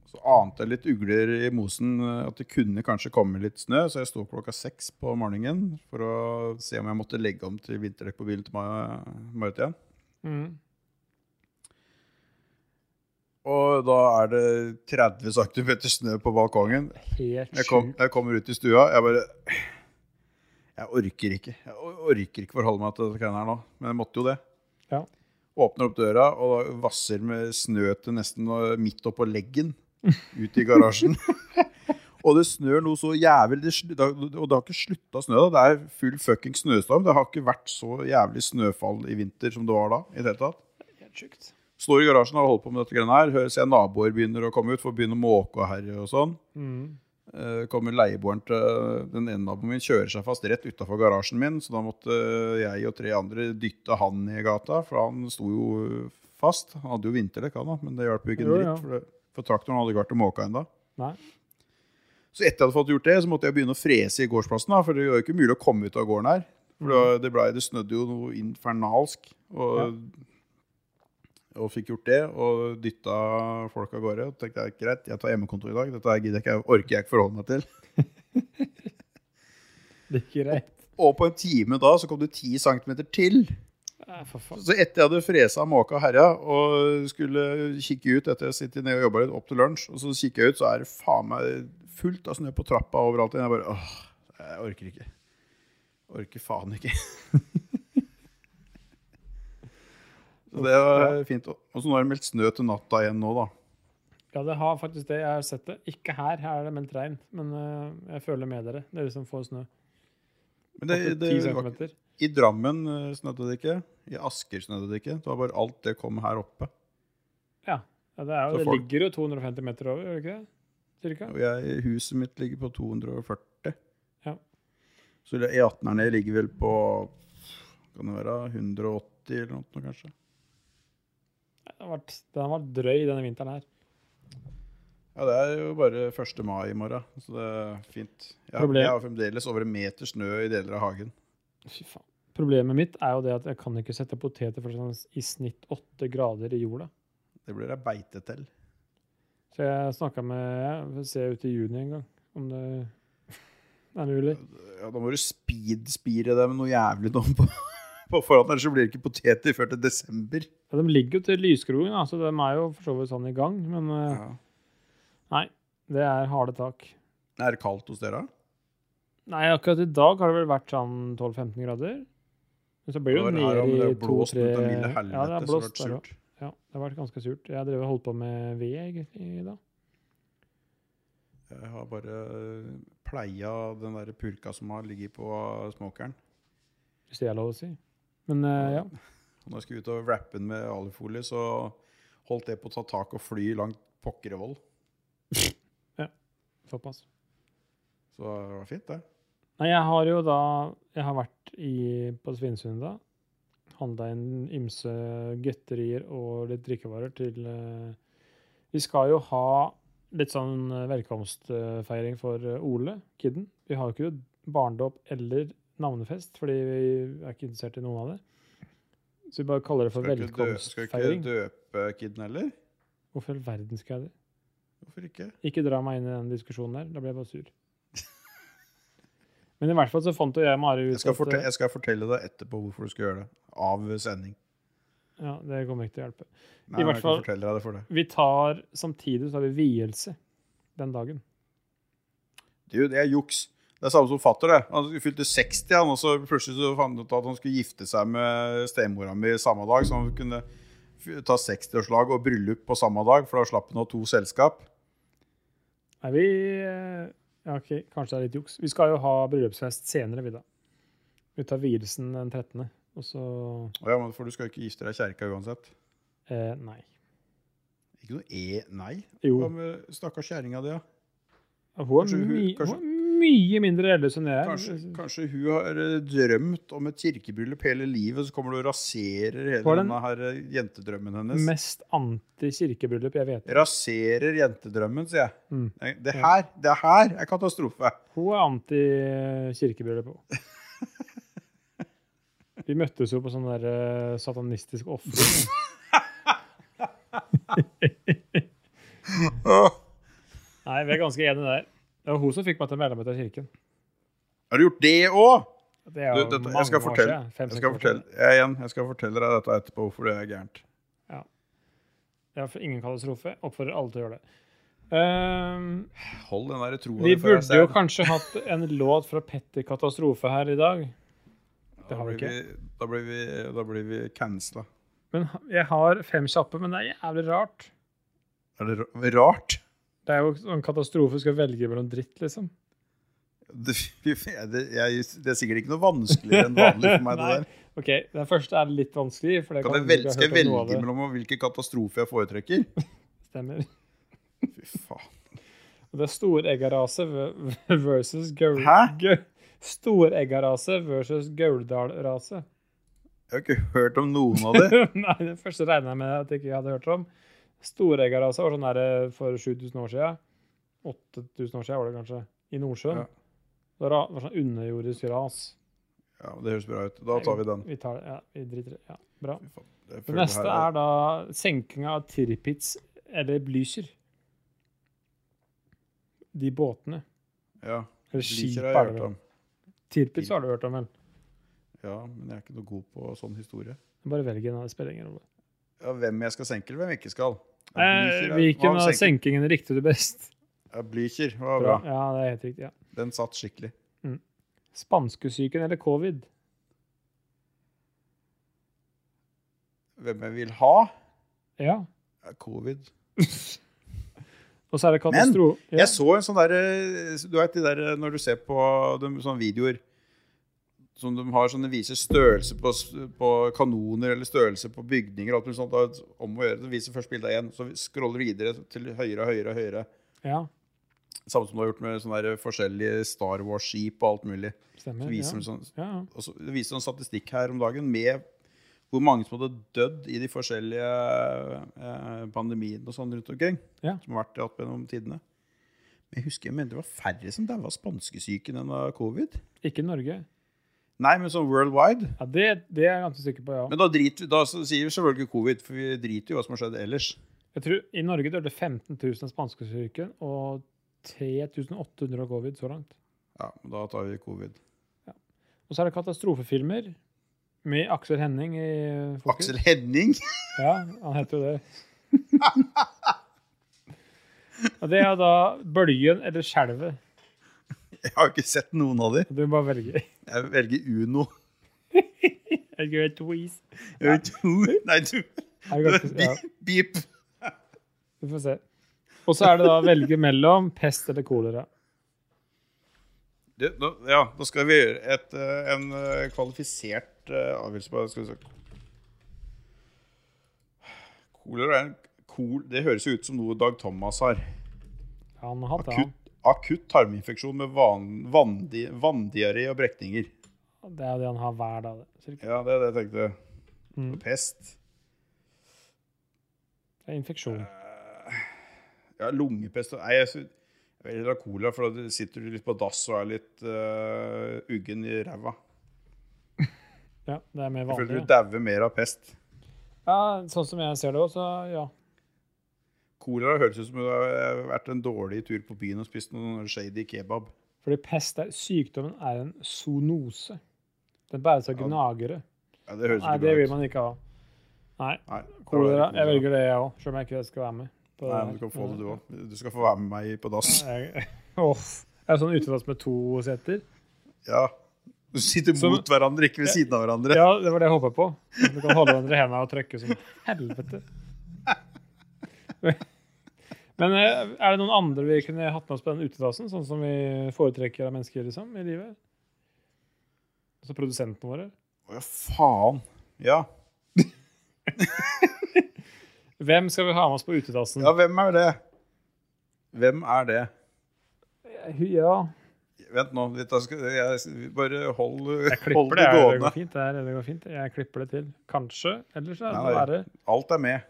[SPEAKER 1] Så ante jeg litt ugler i mosen, eh, at det kunne kanskje komme litt snø, så jeg sto opp klokka seks på morgenen for å se om jeg måtte legge om til vinterdekk på bilen til Ma- Marit igjen.
[SPEAKER 2] Mm.
[SPEAKER 1] Og da er det 30 cm snø på balkongen.
[SPEAKER 2] Helt
[SPEAKER 1] Jeg, kom,
[SPEAKER 2] sjukt.
[SPEAKER 1] jeg kommer ut i stua, jeg bare Jeg orker ikke. Jeg or- orker ikke forholde meg til dette greiene her nå, men jeg måtte jo det.
[SPEAKER 2] Ja.
[SPEAKER 1] Åpner opp døra og da vasser med snø til nesten nå- midt oppå leggen
[SPEAKER 2] [laughs]
[SPEAKER 1] ut i garasjen. [laughs] og det snør noe så jævlig det, sl- da- Og det har ikke slutta å snø. da. Det er full fucking snøstorm. Det har ikke vært så jævlig snøfall i vinter som det var da. i det hele tatt.
[SPEAKER 2] Helt sjukt.
[SPEAKER 1] Står i garasjen og holder på med dette greiene her. Hører, ser naboer begynner å komme ut, for å begynne å måke og herje og sånn.
[SPEAKER 2] Mm.
[SPEAKER 1] Eh, kommer leieboeren til eh, den ene naboen min, kjører seg fast rett utafor garasjen min, så da måtte jeg og tre andre dytte han i gata, for han sto jo fast. Han hadde jo vinterdekk, han da, men det hjalp jo ikke en
[SPEAKER 2] Jo,
[SPEAKER 1] dritt,
[SPEAKER 2] ja.
[SPEAKER 1] for, det- for traktoren hadde ikke vært å måke ennå.
[SPEAKER 2] Nei.
[SPEAKER 1] Så etter jeg hadde fått gjort det, så måtte jeg begynne å frese i gårdsplassen, da, for det var jo ikke mulig å komme ut av gården her. For det, det, ble, det snødde jo noe infernalsk, og, og fikk gjort det, og dytta folk av gårde. Og tenkte jeg, greit, jeg tar hjemmekontor i dag, dette her gidder jeg ikke, orker jeg ikke forholde meg til.
[SPEAKER 2] Det gikk greit.
[SPEAKER 1] Og på en time da så kom det 10 cm til.
[SPEAKER 2] Nei, for faen.
[SPEAKER 1] Så etter jeg hadde fresa måka og herja og skulle kikke ut etter jeg sitter ned og jobba litt opp til lunsj, og så kikker jeg ut, så er det faen meg fullt av snø på trappa overalt. igjen. Jeg bare åh, jeg orker ikke. Orker faen ikke. [laughs] Så det var fint. Og så nå har det meldt snø til natta igjen nå, da.
[SPEAKER 2] Ja, det har faktisk det. Jeg har sett det. Ikke her, her er det meldt regn. Men eh, jeg føler med dere, dere som får snø.
[SPEAKER 1] Men det,
[SPEAKER 2] Opp til
[SPEAKER 1] det,
[SPEAKER 2] 10
[SPEAKER 1] var,
[SPEAKER 2] centimeter.
[SPEAKER 1] I Drammen eh, snødde det ikke. I Asker snødde det ikke. Det var bare alt det kom her oppe.
[SPEAKER 2] Ja, det, er
[SPEAKER 1] Så
[SPEAKER 2] jo, det
[SPEAKER 1] folk-
[SPEAKER 2] ligger jo 250 meter over, gjør det ikke det? Cirka?
[SPEAKER 1] Og jeg, huset mitt ligger på 240.
[SPEAKER 2] Ja.
[SPEAKER 1] Så det- E18-erne ligger vel på kan det være 180 eller noe, kanskje.
[SPEAKER 2] Den har vært, den har vært drøy denne vinteren her.
[SPEAKER 1] Ja, det er jo bare 1. mai i morgen, så det er fint. Jeg,
[SPEAKER 2] Problem-
[SPEAKER 1] jeg har fremdeles over en meter snø i deler av hagen.
[SPEAKER 2] Fy faen. Problemet mitt er jo det at jeg kan ikke sette poteter for sånn i snitt åtte grader i jorda.
[SPEAKER 1] Det blir ei beite til.
[SPEAKER 2] Så jeg snakka med jeg ser ut i juni en gang, om det [laughs] er mulig.
[SPEAKER 1] Ja, da må du speedspire det med noe jævlig dom på, [laughs] på forhånd, ellers så blir det ikke poteter før til desember.
[SPEAKER 2] Ja, de ligger jo til lyskrogen, da, så de er jo for så vidt sånn i gang. Men eh, det er harde tak.
[SPEAKER 1] Er det kaldt hos dere?
[SPEAKER 2] Nei, akkurat i dag har det vel vært sånn 12-15 grader. Men så blir det jo
[SPEAKER 1] Det var her,
[SPEAKER 2] nede
[SPEAKER 1] men det
[SPEAKER 2] i
[SPEAKER 1] har blåst
[SPEAKER 2] 2-3
[SPEAKER 1] ut av milde
[SPEAKER 2] Ja, det
[SPEAKER 1] helvete,
[SPEAKER 2] har
[SPEAKER 1] så det har
[SPEAKER 2] blåst
[SPEAKER 1] vært
[SPEAKER 2] der
[SPEAKER 1] surt.
[SPEAKER 2] også. Ja, det har vært ganske surt. Jeg drev og holdt på med ved egentlig i dag.
[SPEAKER 1] Jeg har bare pleia den der purka som har ligget på smokeren.
[SPEAKER 2] Hvis det er lov å si. Men eh, ja.
[SPEAKER 1] Og Når jeg skulle ut og wrappe den med alufolie, så holdt det på å ta tak og fly langt pokkerevoll.
[SPEAKER 2] Såpass.
[SPEAKER 1] Så det var fint, det.
[SPEAKER 2] Nei, jeg har jo da Jeg har vært i, på Svinesund da. Handla inn ymse godterier og litt drikkevarer til eh, Vi skal jo ha litt sånn eh, velkomstfeiring for eh, Ole, kidden. Vi har jo ikke barndåp eller navnefest, fordi vi er ikke interessert i noen av det. Så vi bare kaller det for
[SPEAKER 1] Skal ikke, dø, skal ikke
[SPEAKER 2] velkomstfeiring.
[SPEAKER 1] døpe kiden heller?
[SPEAKER 2] Hvorfor i all verden skal jeg det?
[SPEAKER 1] Hvorfor ikke?
[SPEAKER 2] Ikke dra meg inn i den diskusjonen der. Da blir jeg bare sur. Men i hvert fall så fant jo jeg Mari ut
[SPEAKER 1] Jeg skal,
[SPEAKER 2] at, eh,
[SPEAKER 1] fortelle, jeg skal fortelle deg etterpå hvorfor du skal gjøre det. Av sending.
[SPEAKER 2] eh, Ja, det kommer ikke til å hjelpe.
[SPEAKER 1] Nei,
[SPEAKER 2] I hvert
[SPEAKER 1] men jeg
[SPEAKER 2] fall-
[SPEAKER 1] kan fortelle deg det for det.
[SPEAKER 2] Vi tar samtidig så har vi vielse den dagen.
[SPEAKER 1] Du, det er juks. Det er samme som fatter det. Han fylte 60, han, og så plutselig så fant han ut at han skulle gifte seg med stemora mi samme dag, så han kunne f- ta 60-årslag og bryllup på samme dag, for da slapp han å ha to selskap.
[SPEAKER 2] Er vi eh, Ja, OK, kanskje det er litt juks. Vi skal jo ha bryllupsfest senere, vi da. Vi tar vielsen den 13., og så
[SPEAKER 1] Å Ja, men For du skal jo ikke gifte deg i kjerka uansett.
[SPEAKER 2] eh, Nei.
[SPEAKER 1] Ikke noe e... Nei. Hva
[SPEAKER 2] Jo.
[SPEAKER 1] med stakkars kjerringa di, da?
[SPEAKER 2] Hun er,
[SPEAKER 1] kanskje hun-
[SPEAKER 2] my,
[SPEAKER 1] kanskje-
[SPEAKER 2] hun er mye mindre religiøs enn jeg er.
[SPEAKER 1] Kanskje, kanskje hun har eh, drømt om et kirkebryllup hele livet, så kommer du og raserer hele
[SPEAKER 2] Var den-
[SPEAKER 1] denne her eh, jentedrømmen hennes.
[SPEAKER 2] Mest anti-kirkebryllup jeg vet.
[SPEAKER 1] Raserer jentedrømmen, sier jeg.
[SPEAKER 2] Mm.
[SPEAKER 1] Nei, Det her, det her er katastrofe.
[SPEAKER 2] Hun er anti-kirkebryllup
[SPEAKER 1] [laughs]
[SPEAKER 2] òg. Vi møttes jo på sånn der eh, satanistisk ofring.
[SPEAKER 1] Åh.
[SPEAKER 2] Nei, vi er ganske enige der. Det var hun som fikk meg til å melde meg til kirken.
[SPEAKER 1] Har du gjort det òg?
[SPEAKER 2] Det er
[SPEAKER 1] Du,
[SPEAKER 2] jo
[SPEAKER 1] dette- jeg
[SPEAKER 2] mange
[SPEAKER 1] skal
[SPEAKER 2] år
[SPEAKER 1] fortelle-
[SPEAKER 2] siden,
[SPEAKER 1] Jeg
[SPEAKER 2] fem, seks
[SPEAKER 1] skal
[SPEAKER 2] år
[SPEAKER 1] fortelle,
[SPEAKER 2] siden.
[SPEAKER 1] jeg, igjen, jeg skal fortelle deg dette etterpå, hvorfor det er gærent.
[SPEAKER 2] Det er for ingen katastrofe. Oppfordrer alle til å gjøre det. Ehm,
[SPEAKER 1] Hold den der troa di
[SPEAKER 2] vi
[SPEAKER 1] før jeg
[SPEAKER 2] burde jo
[SPEAKER 1] ser den.
[SPEAKER 2] kanskje hatt en låt fra Petter Katastrofe her i dag. Det
[SPEAKER 1] Da
[SPEAKER 2] har vi
[SPEAKER 1] blir
[SPEAKER 2] ikke.
[SPEAKER 1] vi- Da blir vi, da blir vi cancela.
[SPEAKER 2] Men ha- jeg har fem kjappe, men det er jævlig rart.
[SPEAKER 1] Er det ra- rart?
[SPEAKER 2] Det er jo sånn katastrofe skal velge mellom dritt, liksom.
[SPEAKER 1] Det, fy faen, det, jeg, det er sikkert ikke noe vanskeligere enn vanlig for meg.
[SPEAKER 2] [laughs] Nei.
[SPEAKER 1] det der.
[SPEAKER 2] OK, den første er litt vanskelig. For det
[SPEAKER 1] Kan jeg
[SPEAKER 2] kan hende du
[SPEAKER 1] vel,
[SPEAKER 2] ikke har
[SPEAKER 1] skal jeg
[SPEAKER 2] hørt om noe av
[SPEAKER 1] velge
[SPEAKER 2] det.
[SPEAKER 1] mellom hvilken katastrofe jeg foretrekker?
[SPEAKER 2] Stemmer.
[SPEAKER 1] Fy faen.
[SPEAKER 2] Og Det er storeggarase v- versus gaul...
[SPEAKER 1] Hæ?
[SPEAKER 2] gau- Storeggarase versus Gauldal-rase.
[SPEAKER 1] Jeg
[SPEAKER 2] [laughs]
[SPEAKER 1] har ikke hørt om noen av det.
[SPEAKER 2] Nei, den første regna jeg med at jeg ikke hadde hørt om. Storeggarase var sånn der eh, for 7000 år siden. 8000 år siden var det kanskje. I Nordsjøen.
[SPEAKER 1] Ja.
[SPEAKER 2] Det var ra- var sånn underjordisk ras.
[SPEAKER 1] Ja, Det høres bra ut. Da tar vi den.
[SPEAKER 2] Vi tar det. Ja, vi driter i det. Ja, bra.
[SPEAKER 1] Fy faen, jeg
[SPEAKER 2] Det
[SPEAKER 1] føler
[SPEAKER 2] neste
[SPEAKER 1] her-
[SPEAKER 2] er da senkinga av Tirpitz eller Blücher. De båtene.
[SPEAKER 1] Ja,
[SPEAKER 2] Eller skip,
[SPEAKER 1] Liker jeg
[SPEAKER 2] er
[SPEAKER 1] har
[SPEAKER 2] det
[SPEAKER 1] hørt
[SPEAKER 2] vel.
[SPEAKER 1] om.
[SPEAKER 2] Tirpitz har du hørt om, vel?
[SPEAKER 1] Ja, men jeg er ikke noe god på sånn historie.
[SPEAKER 2] Bare velg en, det spiller ingen rolle.
[SPEAKER 1] Ja, hvem jeg skal senke, eller hvem jeg ikke skal? Ja,
[SPEAKER 2] Eh,
[SPEAKER 1] Blücher, ja.
[SPEAKER 2] Hvilken
[SPEAKER 1] Hva
[SPEAKER 2] av
[SPEAKER 1] senker-
[SPEAKER 2] senkingene likte du best?
[SPEAKER 1] Ja, Blücher var bra.
[SPEAKER 2] Ja, det er helt riktig. ja.
[SPEAKER 1] Den satt skikkelig.
[SPEAKER 2] Spanskesyken eller covid?
[SPEAKER 1] hvem jeg vil ha.
[SPEAKER 2] Ja.
[SPEAKER 1] Ja, Covid.
[SPEAKER 2] Og så er det
[SPEAKER 1] Men,
[SPEAKER 2] katastro... Ja.
[SPEAKER 1] Jeg så en sånn derre Du vet de der eh, når du ser på de, sånne videoer som de har sånne viser størrelse på, s- på kanoner eller størrelse på bygninger og alt mulig sånt. da, Om å gjøre det viser først bildet igjen, så scroller du videre til høyre og høyere og høyere.
[SPEAKER 2] ja.
[SPEAKER 1] Samme som du har gjort med sånne der forskjellige Star Wars-skip og alt mulig. Så
[SPEAKER 2] Stemmer.
[SPEAKER 1] viser
[SPEAKER 2] Ja.
[SPEAKER 1] de sånn,
[SPEAKER 2] Ja, ja.
[SPEAKER 1] og så det viser en statistikk her om dagen med hvor mange som hadde dødd i de forskjellige eh, pandemiene og sånn rundt omkring.
[SPEAKER 2] Ja.
[SPEAKER 1] Som har vært opp gjennom tidene. Men jeg husker jeg mente det var færre som daua av spanskesyken enn av covid.
[SPEAKER 2] Ikke Norge.
[SPEAKER 1] Nei, men sånn worldwide.
[SPEAKER 2] Ja, det, det er jeg ganske sikker på, ja.
[SPEAKER 1] Men da, driter, vi- da så sier vi selvfølgelig covid, for vi driter jo i hva som har skjedd ellers.
[SPEAKER 2] Jeg tror I Norge døde 15 000 av spanskesyken og 3800 av covid så langt.
[SPEAKER 1] Ja, men da tar vi covid.
[SPEAKER 2] Og så er det katastrofefilmer med Aksel Henning i fokus.
[SPEAKER 1] Aksel Henning! [laughs]
[SPEAKER 2] Ja, han heter jo det. [laughs] Og det er da bølgen eller skjelvet.
[SPEAKER 1] Jeg har ikke sett noen av de.
[SPEAKER 2] Du må bare velge.
[SPEAKER 1] Jeg velger Uno.
[SPEAKER 2] Jeg gjør to is.
[SPEAKER 1] Jeg vet ikke- [laughs] Nei, du
[SPEAKER 2] Er det ganske- Ja,
[SPEAKER 1] Beep!
[SPEAKER 2] vi får se. Og så er det da å velge mellom pest eller kolera.
[SPEAKER 1] Det, da, ja, da skal vi gjøre et, eh, en eh, kvalifisert eh, avgjørelse på skal vi se. Kolera er en kol, Det høres jo ut som noe Dag Thomas har.
[SPEAKER 2] Han har hatt det,
[SPEAKER 1] Akutt, akutt tarminfeksjon med van, vandi, vanndiaré og brekninger.
[SPEAKER 2] han. Det er det han har hver dag. det. Så det
[SPEAKER 1] Ja, det er det jeg tenkte.
[SPEAKER 2] Mm.
[SPEAKER 1] Pest.
[SPEAKER 2] er infeksjon.
[SPEAKER 1] Ja, lungepest. Nei, jeg sy- jeg vil heller ha kolera, for da sitter du litt på dass og er litt eh, uggen i ræva.
[SPEAKER 2] Ja, det er mer
[SPEAKER 1] Jeg føler
[SPEAKER 2] vanlig.
[SPEAKER 1] du
[SPEAKER 2] ja.
[SPEAKER 1] dauer mer av pest.
[SPEAKER 2] Ja, sånn som jeg ser det også, ja.
[SPEAKER 1] Kolera høres ut som det har vært en dårlig tur på byen og spist noen shady kebab.
[SPEAKER 2] Fordi pest er Sykdommen er en zoonose. Den bæres av
[SPEAKER 1] Ja,
[SPEAKER 2] gnagere.
[SPEAKER 1] Ja, det høres
[SPEAKER 2] Nei,
[SPEAKER 1] ikke
[SPEAKER 2] det
[SPEAKER 1] bra
[SPEAKER 2] vil
[SPEAKER 1] ut.
[SPEAKER 2] man ikke ha. Nei,
[SPEAKER 1] Nei, da
[SPEAKER 2] kolera.
[SPEAKER 1] var det
[SPEAKER 2] Jeg velger det, jeg òg, selv om jeg ikke skal være med. på det
[SPEAKER 1] Nei,
[SPEAKER 2] her.
[SPEAKER 1] men du kan få det, du òg. Du skal få være med meg på dass.
[SPEAKER 2] [laughs] Jeg- Åh, Jeg er sånn utedass med to seter.
[SPEAKER 1] Ja. Du sitter
[SPEAKER 2] Som-
[SPEAKER 1] mot hverandre, ikke ved siden av hverandre.
[SPEAKER 2] Ja, det var det jeg håpa på. At Du kan holde hverandre i hendene og trykke som helvete. [laughs] Men eh, er det noen andre vi kunne hatt med oss på den utedassen, sånn som vi foretrekker av mennesker liksom, i livet? Altså produsentene våre?
[SPEAKER 1] Å ja, faen. Ja.
[SPEAKER 2] Hvem skal vi ha med oss på utedassen?
[SPEAKER 1] ja, hvem er det? Hvem er det?
[SPEAKER 2] Ja,
[SPEAKER 1] Vent nå, litt, da skal jeg bare hold,
[SPEAKER 2] jeg
[SPEAKER 1] hold
[SPEAKER 2] klipper
[SPEAKER 1] det
[SPEAKER 2] det. her. Det
[SPEAKER 1] gående.
[SPEAKER 2] går fint. Det, her, det går fint. Jeg klipper det til. Kanskje. Ellers er det
[SPEAKER 1] Nei,
[SPEAKER 2] bare
[SPEAKER 1] Alt er med.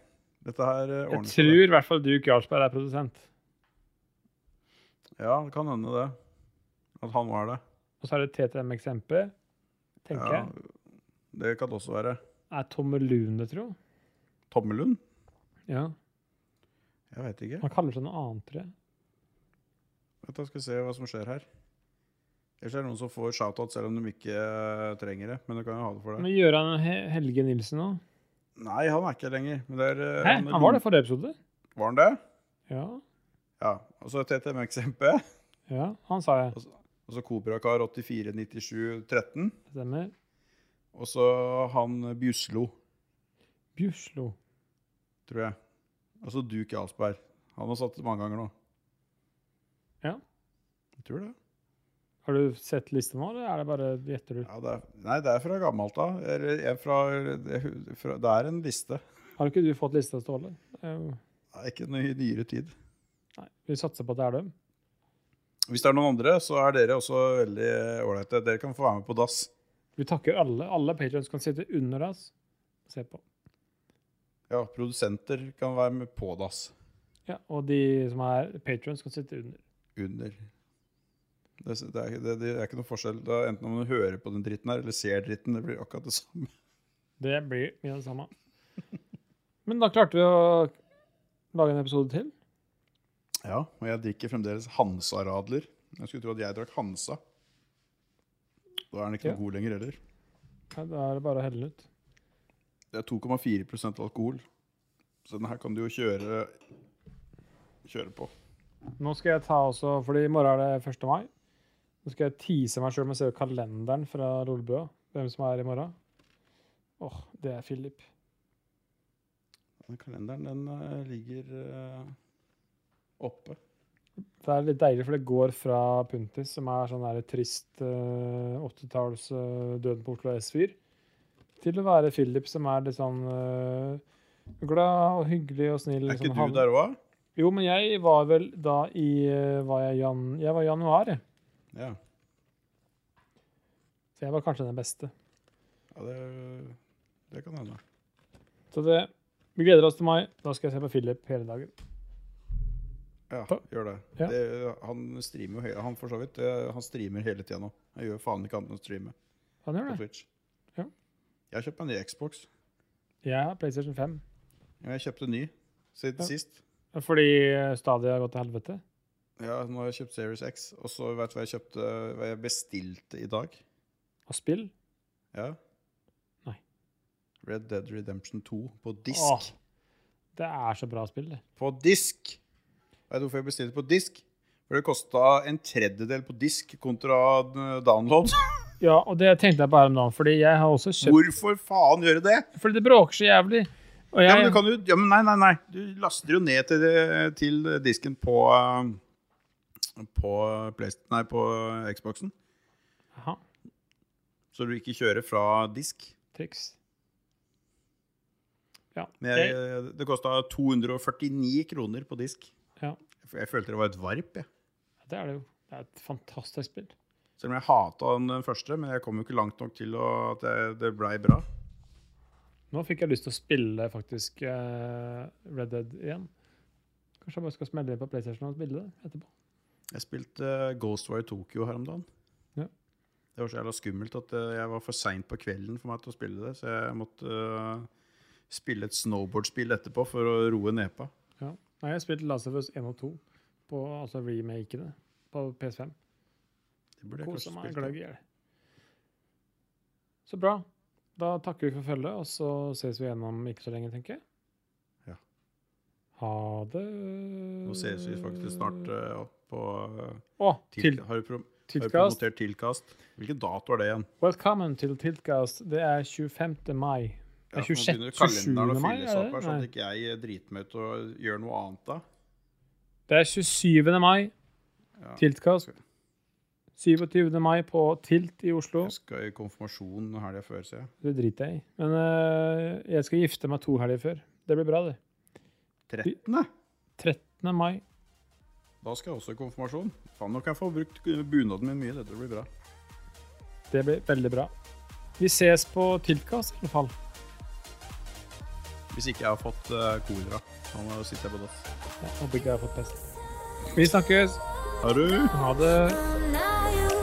[SPEAKER 1] Dette her eh,
[SPEAKER 2] Jeg
[SPEAKER 1] ordner seg.
[SPEAKER 2] tror i hvert fall Duke Jarlsberg er produsent.
[SPEAKER 1] Ja, det kan hende det. At han var det.
[SPEAKER 2] Og så er det TTMXMP, tenker
[SPEAKER 1] Ja,
[SPEAKER 2] jeg.
[SPEAKER 1] det kan det også være.
[SPEAKER 2] Er Tomme Lune, tro?
[SPEAKER 1] Tommelund?
[SPEAKER 2] Ja.
[SPEAKER 1] Jeg veit ikke.
[SPEAKER 2] Han kaller seg noe annet, tror jeg.
[SPEAKER 1] Vent, da skal vi se hva som skjer her. Ellers er det noen som får shoutout selv om de ikke eh, trenger det. Men du kan jo ha det for det.
[SPEAKER 2] Men Gjøran He- Helge Nilsen òg?
[SPEAKER 1] Nei, han er ikke her lenger. Men det er, eh,
[SPEAKER 2] Hæ, han var det forrige episode?
[SPEAKER 1] Var han det?
[SPEAKER 2] Ja.
[SPEAKER 1] Ja. Og så TTMXMP.
[SPEAKER 2] ja, han sa jeg.
[SPEAKER 1] Og så Kobrakar 849713.
[SPEAKER 2] Stemmer.
[SPEAKER 1] Og så han Bjuslo,
[SPEAKER 2] Bjuslo.
[SPEAKER 1] tror jeg. Og så Duke Jarlsberg. Han har satt det mange ganger nå.
[SPEAKER 2] Ja.
[SPEAKER 1] Jeg tror det.
[SPEAKER 2] Har du sett lista nå, eller er det bare gjetter du?
[SPEAKER 1] Ja, det er, nei, det er fra gammelt av. Eller jeg er fra, jeg, fra, det er en liste.
[SPEAKER 2] Har ikke du fått lista, Ståle? Det er jo-
[SPEAKER 1] Det er ikke noe i nyere tid.
[SPEAKER 2] Nei, vi satser på at det er dem.
[SPEAKER 1] Hvis det er noen andre, så er dere også veldig ålreite. Dere kan få være med på dass.
[SPEAKER 2] Vi takker alle. Alle patrons kan sitte under oss og se på.
[SPEAKER 1] Ja, produsenter kan være med på dass.
[SPEAKER 2] Ja, og de som er patrons, kan sitte under.
[SPEAKER 1] Under. Det, det, er, det, det er ikke noe forskjell. Det er enten om du hører på den dritten her, eller ser dritten. Det blir akkurat det samme.
[SPEAKER 2] Det blir mye av det samme. Men da klarte vi å lage en episode til.
[SPEAKER 1] Ja, og jeg drikker fremdeles Hansa-radler. Jeg skulle tro at jeg drakk Hansa. Da er den ikke
[SPEAKER 2] Ja.
[SPEAKER 1] noe god lenger heller.
[SPEAKER 2] Ja, Da er det bare å helle den ut.
[SPEAKER 1] Det er 2,4 alkohol. Så den her kan du jo kjøre Kjøre på.
[SPEAKER 2] Nå skal jeg ta også, fordi i morgen er det 1. mai. Nå skal jeg tease meg sjøl med å se kalenderen fra Rollebua. Hvem som er i morgen. Åh, det er Philip.
[SPEAKER 1] Den kalenderen den eh, ligger eh, oppe.
[SPEAKER 2] Det er litt deilig, for det går fra Puntis, som er sånn der trist uh, 80-talls eh, Døden på Oslo S-fyr, til å være Philip, som er litt sånn eh, glad og hyggelig og snill.
[SPEAKER 1] Er ikke
[SPEAKER 2] sånn
[SPEAKER 1] du
[SPEAKER 2] halv-
[SPEAKER 1] der òg?
[SPEAKER 2] Jo, men jeg var vel da i eh, var jeg, jan jeg var i januar, jeg.
[SPEAKER 1] Ja.
[SPEAKER 2] så jeg var kanskje den beste.
[SPEAKER 1] ja det, det kan hende.
[SPEAKER 2] Så det, vi gleder oss til mai. Da skal jeg se på Philip hele dagen.
[SPEAKER 1] Ja,
[SPEAKER 2] Ja.
[SPEAKER 1] gjør det.
[SPEAKER 2] Ja.
[SPEAKER 1] det han streamer jo he- han for så vidt. eh, Han streamer hele tida nå. Han gjør faen ikke annet enn å streame
[SPEAKER 2] Han
[SPEAKER 1] på
[SPEAKER 2] gjør det.
[SPEAKER 1] Twitch.
[SPEAKER 2] Ja.
[SPEAKER 1] Jeg har kjøpt meg en ny Xbox.
[SPEAKER 2] Jeg har PlayStation 5.
[SPEAKER 1] Ja, Jeg kjøpte ny siden
[SPEAKER 2] Ja.
[SPEAKER 1] sist.
[SPEAKER 2] Fordi eh, Stadia har gått til helvete.
[SPEAKER 1] Ja, nå har jeg kjøpt Series X. Og så vet du hva jeg kjøpte Hva jeg bestilte i dag?
[SPEAKER 2] Og spill.
[SPEAKER 1] Ja.
[SPEAKER 2] Nei.
[SPEAKER 1] Red Dead Redemption 2 på disk.
[SPEAKER 2] Åh, det er så bra spill, det.
[SPEAKER 1] På disk! Vet du hvorfor jeg bestilte på disk? For det kosta en tredjedel på disk kontra eh, download.
[SPEAKER 2] Ja, og det tenkte jeg bare om dagen, fordi jeg har også kjøpt
[SPEAKER 1] Hvorfor faen gjøre det?
[SPEAKER 2] Fordi det bråker så jævlig. Og
[SPEAKER 1] Ja,
[SPEAKER 2] jeg,
[SPEAKER 1] men du kan jo ja, men Nei, nei, nei. Du laster jo ned til, det- til disken på eh, på, Playst- nei, på Xboxen,
[SPEAKER 2] Aha,
[SPEAKER 1] så du ikke kjører fra disk.
[SPEAKER 2] triks. Ja.
[SPEAKER 1] Men jeg, det kosta 249 kroner på disk.
[SPEAKER 2] Ja.
[SPEAKER 1] Jeg, jeg følte det var et varp, jeg.
[SPEAKER 2] jeg- det er det jo. Det er et fantastisk spill.
[SPEAKER 1] Selv om jeg hata den den første, men jeg kom jo ikke langt nok til å, at det, det blei bra.
[SPEAKER 2] Nå fikk jeg lyst til å spille faktisk eh, Red Dead igjen. Kanskje jeg bare skal smelle inn på PlayStation og spille det etterpå.
[SPEAKER 1] Jeg spilte eh, Ghostwire Tokyo her om dagen.
[SPEAKER 2] Ja.
[SPEAKER 1] Det var så jævla skummelt at eh, jeg var for seint på kvelden for meg til å spille det, så jeg måtte eh, spille et snowboardspill etterpå for å roe nepa.
[SPEAKER 2] Ja. Nei, jeg spilte Last of Us 1 og 2, på, altså remakene, på PS5.
[SPEAKER 1] Det burde jeg
[SPEAKER 2] Kosa
[SPEAKER 1] kanskje
[SPEAKER 2] meg
[SPEAKER 1] spilt.
[SPEAKER 2] gløgg i hjel. Så bra. Da takker vi for følget, og så ses vi igjen om ikke så lenge, tenker jeg.
[SPEAKER 1] Ja.
[SPEAKER 2] Ha det.
[SPEAKER 1] Nå ses vi faktisk snart eh, opp på eh,
[SPEAKER 2] Å,
[SPEAKER 1] til,
[SPEAKER 2] Mm. til,
[SPEAKER 1] har, du pro, har du
[SPEAKER 2] Tiltkast.
[SPEAKER 1] promotert Tilkast? Hvilken dato er det igjen?
[SPEAKER 2] Welcome til Tiltkast. Det er 25. mai. Det
[SPEAKER 1] Ja,
[SPEAKER 2] er
[SPEAKER 1] for nå
[SPEAKER 2] 26.
[SPEAKER 1] begynner kalenderen å
[SPEAKER 2] 27. mai,
[SPEAKER 1] fylles
[SPEAKER 2] er
[SPEAKER 1] opp
[SPEAKER 2] det?
[SPEAKER 1] her, Sånn
[SPEAKER 2] Nei.
[SPEAKER 1] at ikke jeg driter meg ut og gjør noe annet da.
[SPEAKER 2] Det er 27. mai.
[SPEAKER 1] Ja.
[SPEAKER 2] Tiltkast. 27. mai på Tilt i Oslo.
[SPEAKER 1] Jeg skal i konfirmasjon helga før, ser jeg.
[SPEAKER 2] Det driter jeg i. Men eh, jeg skal gifte meg to helger før. Det blir bra, det.
[SPEAKER 1] 13.
[SPEAKER 2] 13. mai.
[SPEAKER 1] Da skal jeg også i konfirmasjon. Faen, nå kan jeg få brukt bunaden min mye. Dette blir bra.
[SPEAKER 2] Det blir veldig bra. Vi ses på Tiltkast, i hvert fall.
[SPEAKER 1] Hvis ikke jeg har fått eh, kolera. Nå sitter jeg på dass.
[SPEAKER 2] Jeg håper ikke jeg har fått pest. Vi snakkes.
[SPEAKER 1] Har du?
[SPEAKER 2] Ha det.
[SPEAKER 4] Now you